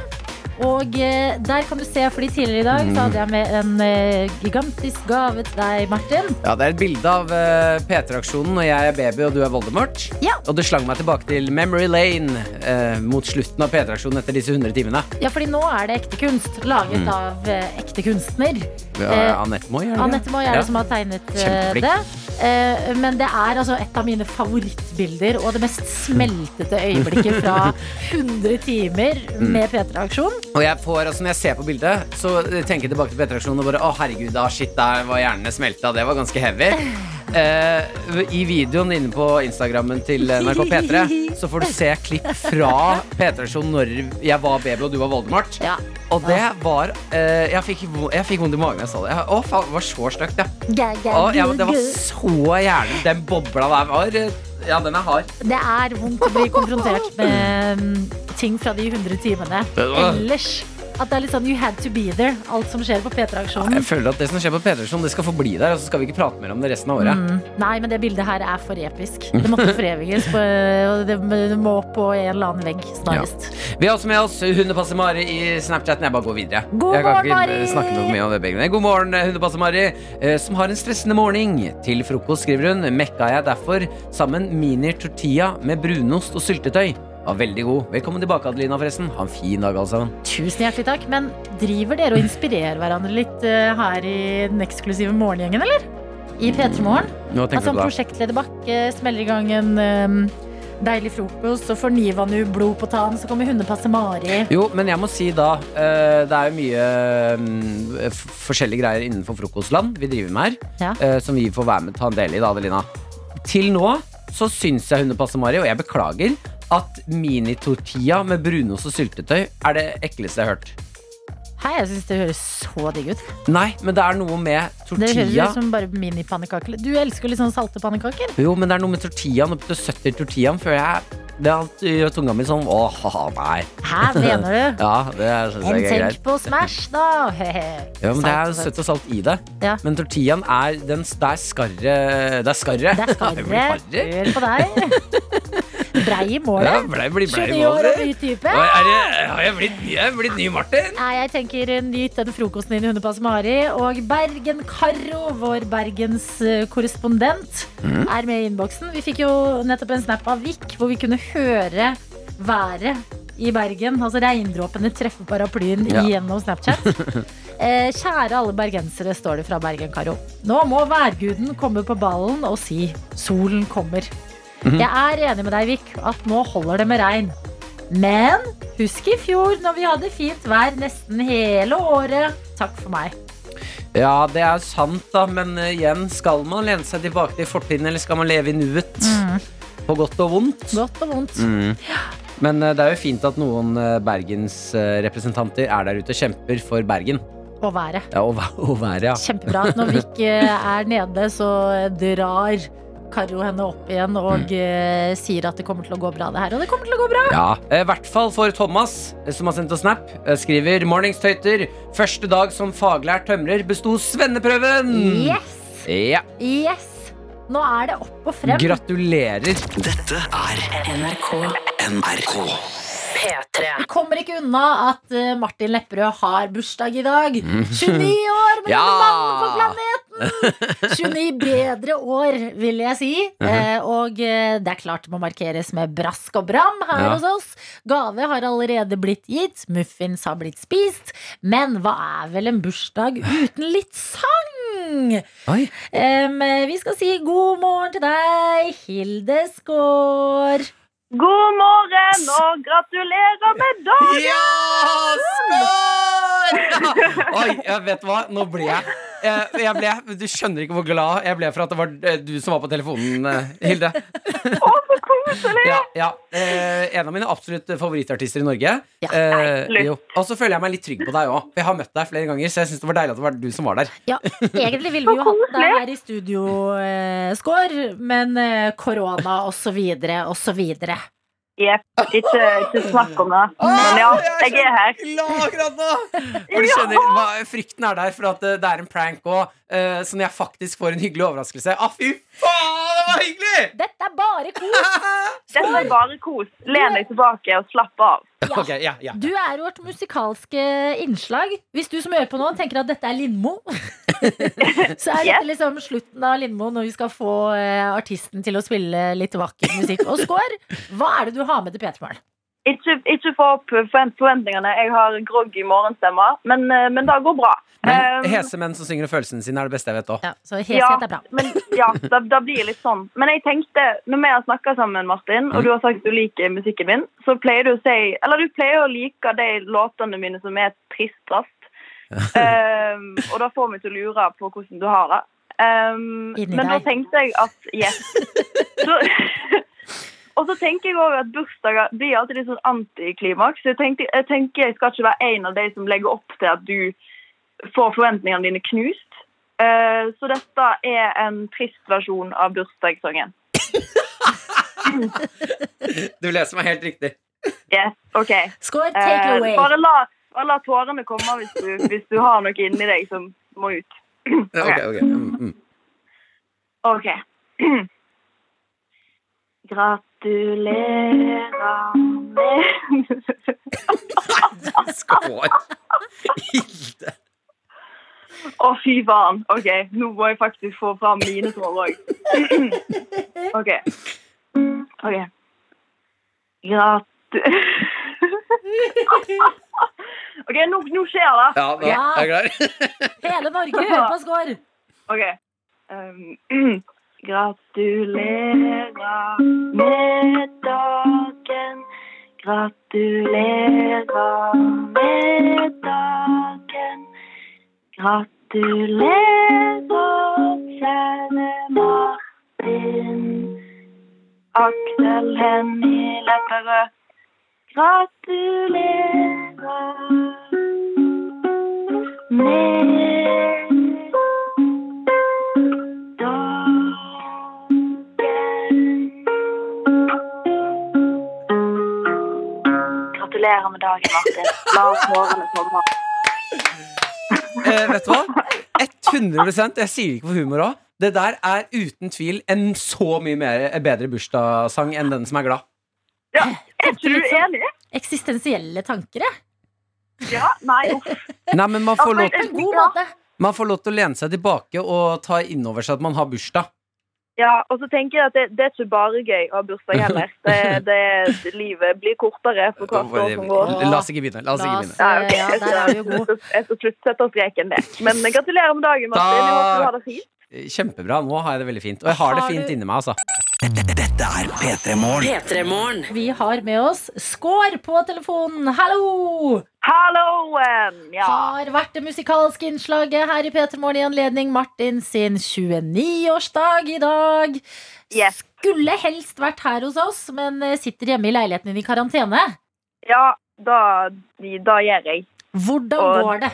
Og eh, der kan du se, fordi tidligere i dag Mm. så hadde jeg med en eh, gigantisk gave til deg, Martin. ja, det er et bilde av eh, P3-aksjonen når jeg er baby og du er Voldemort. Ja. Og det slang meg tilbake til Memory Lane eh, mot slutten av P3-aksjonen etter disse 100 timene. Ja, fordi nå er det ekte kunst, laget av eh, ekte kunstner. Mm. Ja, Eh, Anette Moi, er det det? Anette Moe er Ja. det som har tegnet eh, Kjempeflink. det. Eh, Men det er altså et av mine favorittbilder og det mest smeltete øyeblikket fra 100 timer Mm. med P3-aksjon. Og jeg får, altså Når jeg ser på bildet, så tenker jeg tilbake til P3-aksjonen og bare Å, herregud, da, shit, der var hjernene smelta. Det var ganske heavy. Eh, I videoen inne på Instagrammen til NRK P3 så får du se klipp fra P3-aksjonen når jeg var baby og du var Voldemort. Ja. Og det var eh, Jeg fikk vo- jeg fikk vondt i magen da jeg sa det. Jeg- Å, faen, det var så stygt, ja. Å, ja. Det var så jævlig. Den bobla der var eh, Ja, den er hard. Det er vondt å bli konfrontert med mm, ting fra de 100 timene. Ellers. At det er litt sånn you had to be there, alt som skjer på P3-aksjonen. Jeg føler at det som skjer på P3-aksjonen, det skal få bli der, og så skal vi ikke prate mer om det resten av året. Nei, men det bildet her er for episk. Det måtte foreviges. På, og det det må opp på en eller annen vegg snarest. Vi har også med oss Hundepasser Mari i Snapchat. Jeg bare går videre. God jeg kan morgen, ikke Mari! snakke noe mye om det begge. God morgen, Hundepasser Mari, eh, som har en stressende morgen. Til frokost, skriver hun, mekka jeg derfor sammen mini tortilla med brunost og syltetøy. Var veldig god. Velkommen tilbake, Adelina, forresten. Ha en fin dag, altså. alle sammen. Tusen hjertelig takk. Men driver dere og inspirerer hverandre litt eh, her i den eksklusive morgengjengen, eller? I P3 Morgen? Nå Mm, tenker Altså, du på det. prosjektleder Bakke smeller i gang en eh, deilig frokost, så får Niva nå blod på tann, så kommer hundepasse Mari. Jo, men jeg må si da eh, Det er jo mye mm, f- forskjellige greier innenfor frokostland vi driver med her. Ja. eh, som vi får være med ta en del i, da, Adelina. Til nå så syns jeg hundepasse Mari, og jeg beklager, at mini-tortilla med brunost og syltetøy er det ekleste jeg har hørt. Hei, jeg syns det høres så digg ut. Nei, men det er noe med Det høres tortilla. ut som bare minipannekaker. Du elsker jo litt sånn salte pannekaker. Jo, men det er noe med tortillaen opp til 70 tortillaen før jeg Det er alt gjør tunga mi sånn Åh, haha, nei. Hæ, mener du? Ja, det syns Men jeg er greit. tenk på Smash, da! Hehe. Ja, men det er Salt og søtt. søtt og salt i det. Ja. Men tortillaen er den, Det er skarret. Det er skarret. Det er skarre. skarret. Hør på deg. Brei i Ja, målet. blei, blei, blei, 29 år og ny type. Oi, er det, har jeg blitt, jeg er blitt ny Martin? Nei, jeg tenker eh, Nyt den frokosten din i Hundepass Mari. Og Bergen Karo, vår Bergens eh, korrespondent, Mhm. er med i innboksen. Vi fikk jo nettopp en snap av Vik hvor vi kunne høre været i Bergen. Altså regndråpene treffer paraplyen Ja. gjennom Snapchat. Eh, kjære alle bergensere, står det fra Bergen Karo. Nå må værguden komme på ballen og si 'solen kommer'. Mhm. Jeg er enig med deg, Vik, at nå holder det med regn. Men Husk i fjor når vi hadde fint vær nesten hele året. Takk for meg. Ja, det er sant, da, men eh, igjen, skal man lene seg tilbake til fortiden, eller skal man leve i nuet? På godt og vondt. Mm. Godt og vondt. Men eh, det er jo fint at noen eh, Bergens eh, representanter er der ute og kjemper for Bergen. Og været. Ja, og, væ- og været, ja. Kjempebra. Når vi ikke er nede, så drar Karo henne opp igjen og eh, sier at det kommer til å gå bra, det her. Og det kommer til å gå bra. Ja, I hvert fall for Thomas, eh, som har sendt oss snap. eh, Skriver 'Mornings tøyter'. Første dag som faglært tømrer besto Mm. svenneprøven! Yes! Ja, Yes! Nå er det opp og frem. Gratulerer. Dette er NRK. Vi kommer ikke unna at eh, Martin Lepperød har bursdag i dag. 29 år med Ja. mannen på planeten! 29 bedre år, vil jeg si. Mhm. Eh, og eh, det er klart det må markeres med brask og bram her Ja. hos oss. Gave har allerede blitt gitt, muffins har blitt spist. Men hva er vel en bursdag uten litt sang? Oi. Em, eh, vi skal si god morgen til deg, Hilde Skaar. God morgen og gratulerer med dagen! Ja! Skål! Oi, jeg vet hva, nå ble jeg, jeg, jeg ble, Du skjønner ikke hvor glad jeg ble for at det var eh, du som var på telefonen, eh, Hilde. Å, så koselig! Ja, ja. Eh, en av mine absolutt favorittartister i Norge. Ja, Eh, nei, slutt. jo. Og så føler jeg meg litt trygg på deg òg, for jeg har møtt deg flere ganger. Så jeg synes det var deilig at det var du som var der. Ja, egentlig ville vi jo hatt deg her i studio, eh, Skår, men eh, korona og så videre og så videre. Jepp, ikke, ikke snakk om det. Men ja, jeg er her. Glad akkurat nå! For du skjønner, hva, Frykten er der for at eh, det er en prank òg, så når jeg faktisk får en hyggelig overraskelse Ah, fy faen, det var hyggelig! Dette er bare kos! Dette er bare kos. Len deg tilbake og slapp av. Ja. Ok, ja, ja. Du er vårt musikalske eh, innslag. Hvis du som hører på nå tenker at dette er Lindmo, så er dette liksom slutten av Lindmo når vi skal få eh, artisten til å spille litt vakker musikk. Og Skår, hva er det du har med til P3 Morgen? Ikke, ikke få opp forvent- forventningene. Jeg har groggy morgenstemme, men, eh, men det går bra. Men Eh, hese menn som synger om følelsene sine, er det beste jeg vet òg. Um, Ja, så heshet ja, er bra. men, ja det, det blir litt sånn. Men jeg tenkte, når vi har snakka sammen, Martin, og du har sagt du liker musikken min, så pleier du å si Eller du pleier å like de låtene mine som er tristest. Ehm, og da får vi til å lure på hvordan du har det. Ehm, Inni men da deg. tenkte jeg at yes. Så, og så tenker jeg òg at bursdager blir alltid litt sånn antiklimaks. Jeg, tenkte, jeg tenker jeg skal ikke være en av de som legger opp til at du får forventningene dine knust. Eh, så dette er en trist versjon av bursdagssangen. Du leser meg helt riktig. Yes, OK. Eh, Score, take it away. bare, la, bare la tårene komme hvis du, hvis du har noe inni deg som må ut. Ja, ok, ok. Mm, mm. Ok. Gratulerer med Skår. Hilde. Å, fy faen. OK, nå må jeg faktisk få fram mine tårer òg. OK. OK. Gratu... OK, nå, nå skjer det. Ja, da Ja. er jeg klar. Hele Norge hører på Score. OK. Um, gratulerer med dagen. Gratulerer med dagen. Gratulerer, kjære Martin. Aksel Hennie Lepperød. Gratulerer med dagen. Gratulerer med dagen, Martin. La oss morgenen komme. Eh, vet du hva? 100 Jeg sier ikke for humor òg. Det der er uten tvil en så mye mer, bedre bursdagssang enn den som er glad. Er ikke du enig? Eksistensielle tanker, jeg. Ja? Nei, uff. Nei, men man Ja, får men lov På til jeg- en god måte. Man får lov til å lene seg tilbake og ta inn over seg at man har bursdag. Ja, og så tenker jeg at det, det er ikke bare gøy å ha bursdag heller. Det, det, livet blir kortere for hvert år som går. La oss ikke begynne. La oss La ikke oss, begynne. Ja, ok. eh, ja, der er du jo god. Jeg skal slutt- sette streken der. Men gratulerer med dagen, Martin. Jeg håper du har det fint. Kjempebra. Nå har jeg det veldig fint. Og jeg har det Har fint du- inni meg, altså. Dette er P3 Morgen. P3-morgen. Vi har med oss Score på telefonen. Hallo! Halloen! Ja. Har vært det musikalske innslaget her i P3 Morgen i anledning Martin sin 29-årsdag i dag. Yes. Skulle helst vært her hos oss, men eh, sitter hjemme i leiligheten din i karantene. Ja, da, da gjør jeg. Hvordan Og- går det?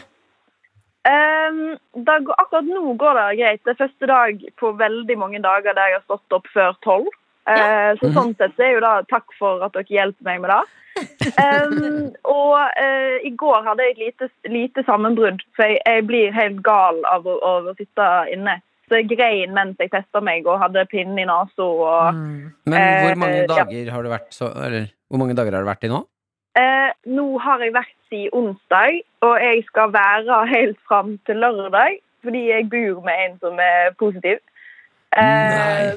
Ehm, da, går- akkurat nå går det greit. Det er første dag på veldig mange dager der jeg har stått opp før tolv. Eh, så sånn sett så er jo da takk for at dere hjelper meg med det. Ehm, og eh, i går hadde jeg et lite, lite sammenbrudd, for jeg, jeg blir helt gal av å, av å sitte inne. Så jeg grein mens jeg testa meg og hadde pinne i nesa. Og, Men hvor mange Eh, ja. dager har du vært så Eller hvor mange dager har du vært i nå? Eh, nå har jeg vært siden onsdag, og jeg skal være helt fram til lørdag. Fordi jeg bor med en som er positiv. Eh,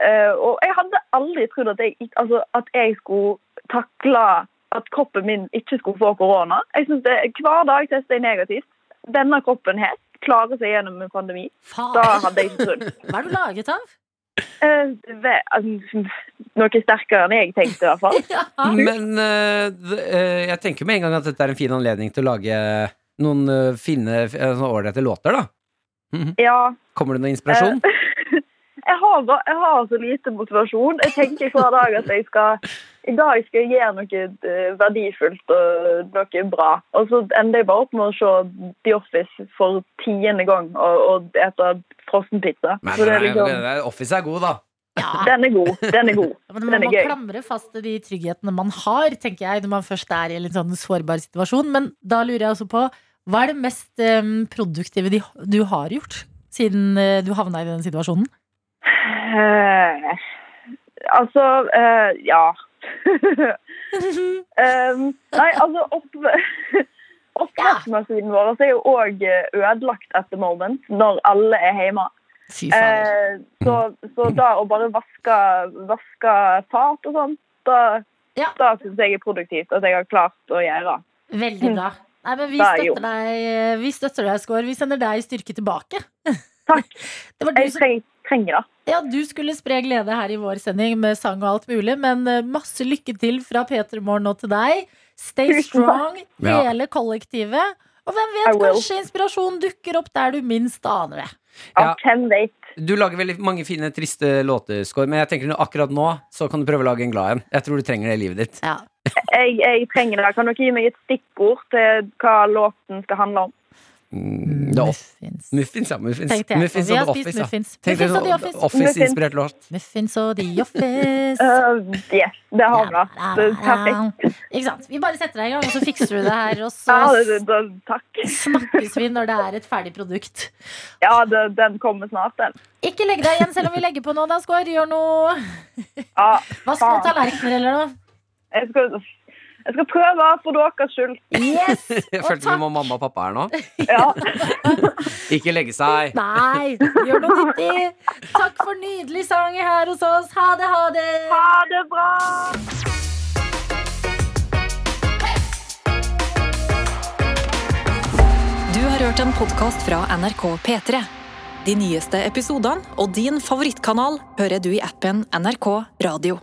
eh, og jeg hadde aldri trodd at jeg, ikke- altså, at jeg skulle takle at kroppen min ikke skulle få korona. Jeg synes det, Hver dag tester jeg negativt. Denne kroppen her klarer seg gjennom en pandemi. Da Faen, hadde jeg ikke trodd. hva er du laget av? Eh, ve- altså, noe sterkere enn jeg tenkte, i hvert fall. Men eh, d- eh, jeg tenker med en gang at dette er en fin anledning til å lage noen eh, fine, f- eh, sånne ålreite låter, da. Mhm. Ja, Kommer det noe inspirasjon? Eh, jeg har, ba- jeg har så lite motivasjon. Jeg tenker hver dag at jeg skal i dag skal jeg gjøre noe eh, verdifullt og noe bra. Og så ender jeg bare opp med å se The Office for tiende gang og, og ete frossenpizza. Nei, Så det er nei, nei, liksom, nei, eh, Office er god, da. Ja, den er god. Den er god. men den man er må gøy. klamre fast til de trygghetene man har, tenker jeg, når man først er i en litt sånn sårbar situasjon. Men da lurer jeg også på, hva er det mest eh, produktive de, du har gjort siden eh, du havna i den situasjonen? Eh, altså eh, Ja. Em, nei, altså opp, Oppvaskmaskinen vår altså, er jo òg ødelagt at the moment når alle er hjemme. Fy faen. altså. Mm. Eh, så, så da å bare vaske, vaske fat og sånt, da Det syns jeg er produktivt at jeg har klart å gjøre. Veldig bra. Nei, men vi Da er jeg støtter deg, eh, vi støtter deg, Skår. Vi sender deg styrke tilbake. Det var du Jeg som- treng, trenger det. Ja, du skulle spre glede her i vår sending med sang og alt mulig, men eh, masse lykke til fra P3 Morgen nå til deg. Stay Tusen strong, takk. Ja. hele kollektivet. Og hvem I vet, will. kanskje inspirasjon dukker opp der du minst aner det. Ja. Hvem vet? Du lager veldig mange fine, triste låter, Skår, men jeg tenker nå- akkurat nå så kan du prøve å lage en glad en. Jeg tror du trenger det i livet ditt. Ja. Jeg, jeg trenger det. Kan dere gi meg et stikkord til hva låten skal handle om? Mm, The Office. Muffins. Muffins, ja. Muffins, Tenkte jeg. muffins Vi og har The spist Office. ja. muffins. Tenk deg Muffins og The sånn Office. Office-inspirert låt. Muffins og the office. Øh, yes, det har vi. da. Det er Perfekt. Ikke sant? Vi bare setter deg i gang, og så fikser du det her. Og Ja, det, så det, det, takk. snakkes vi når det er et ferdig produkt. Ja, det, den kommer snart, den. Ikke legg deg igjen selv om vi legger på noe, da, Skår. Gjør noe Ja, Vask noen tallerkener eller noe. jeg skal, jeg skal prøve for deres skyld. Yes! Jeg Og følte takk. vi var mamma og pappa her nå. Ja. Ikke legge seg. Nei, gjør noe nyttig. Takk for nydelig sang her hos oss. Ha det, ha det. Ha det bra! Du har hørt en podkast fra NRK P3. De nyeste episodene og din favorittkanal hører du i appen NRK Radio.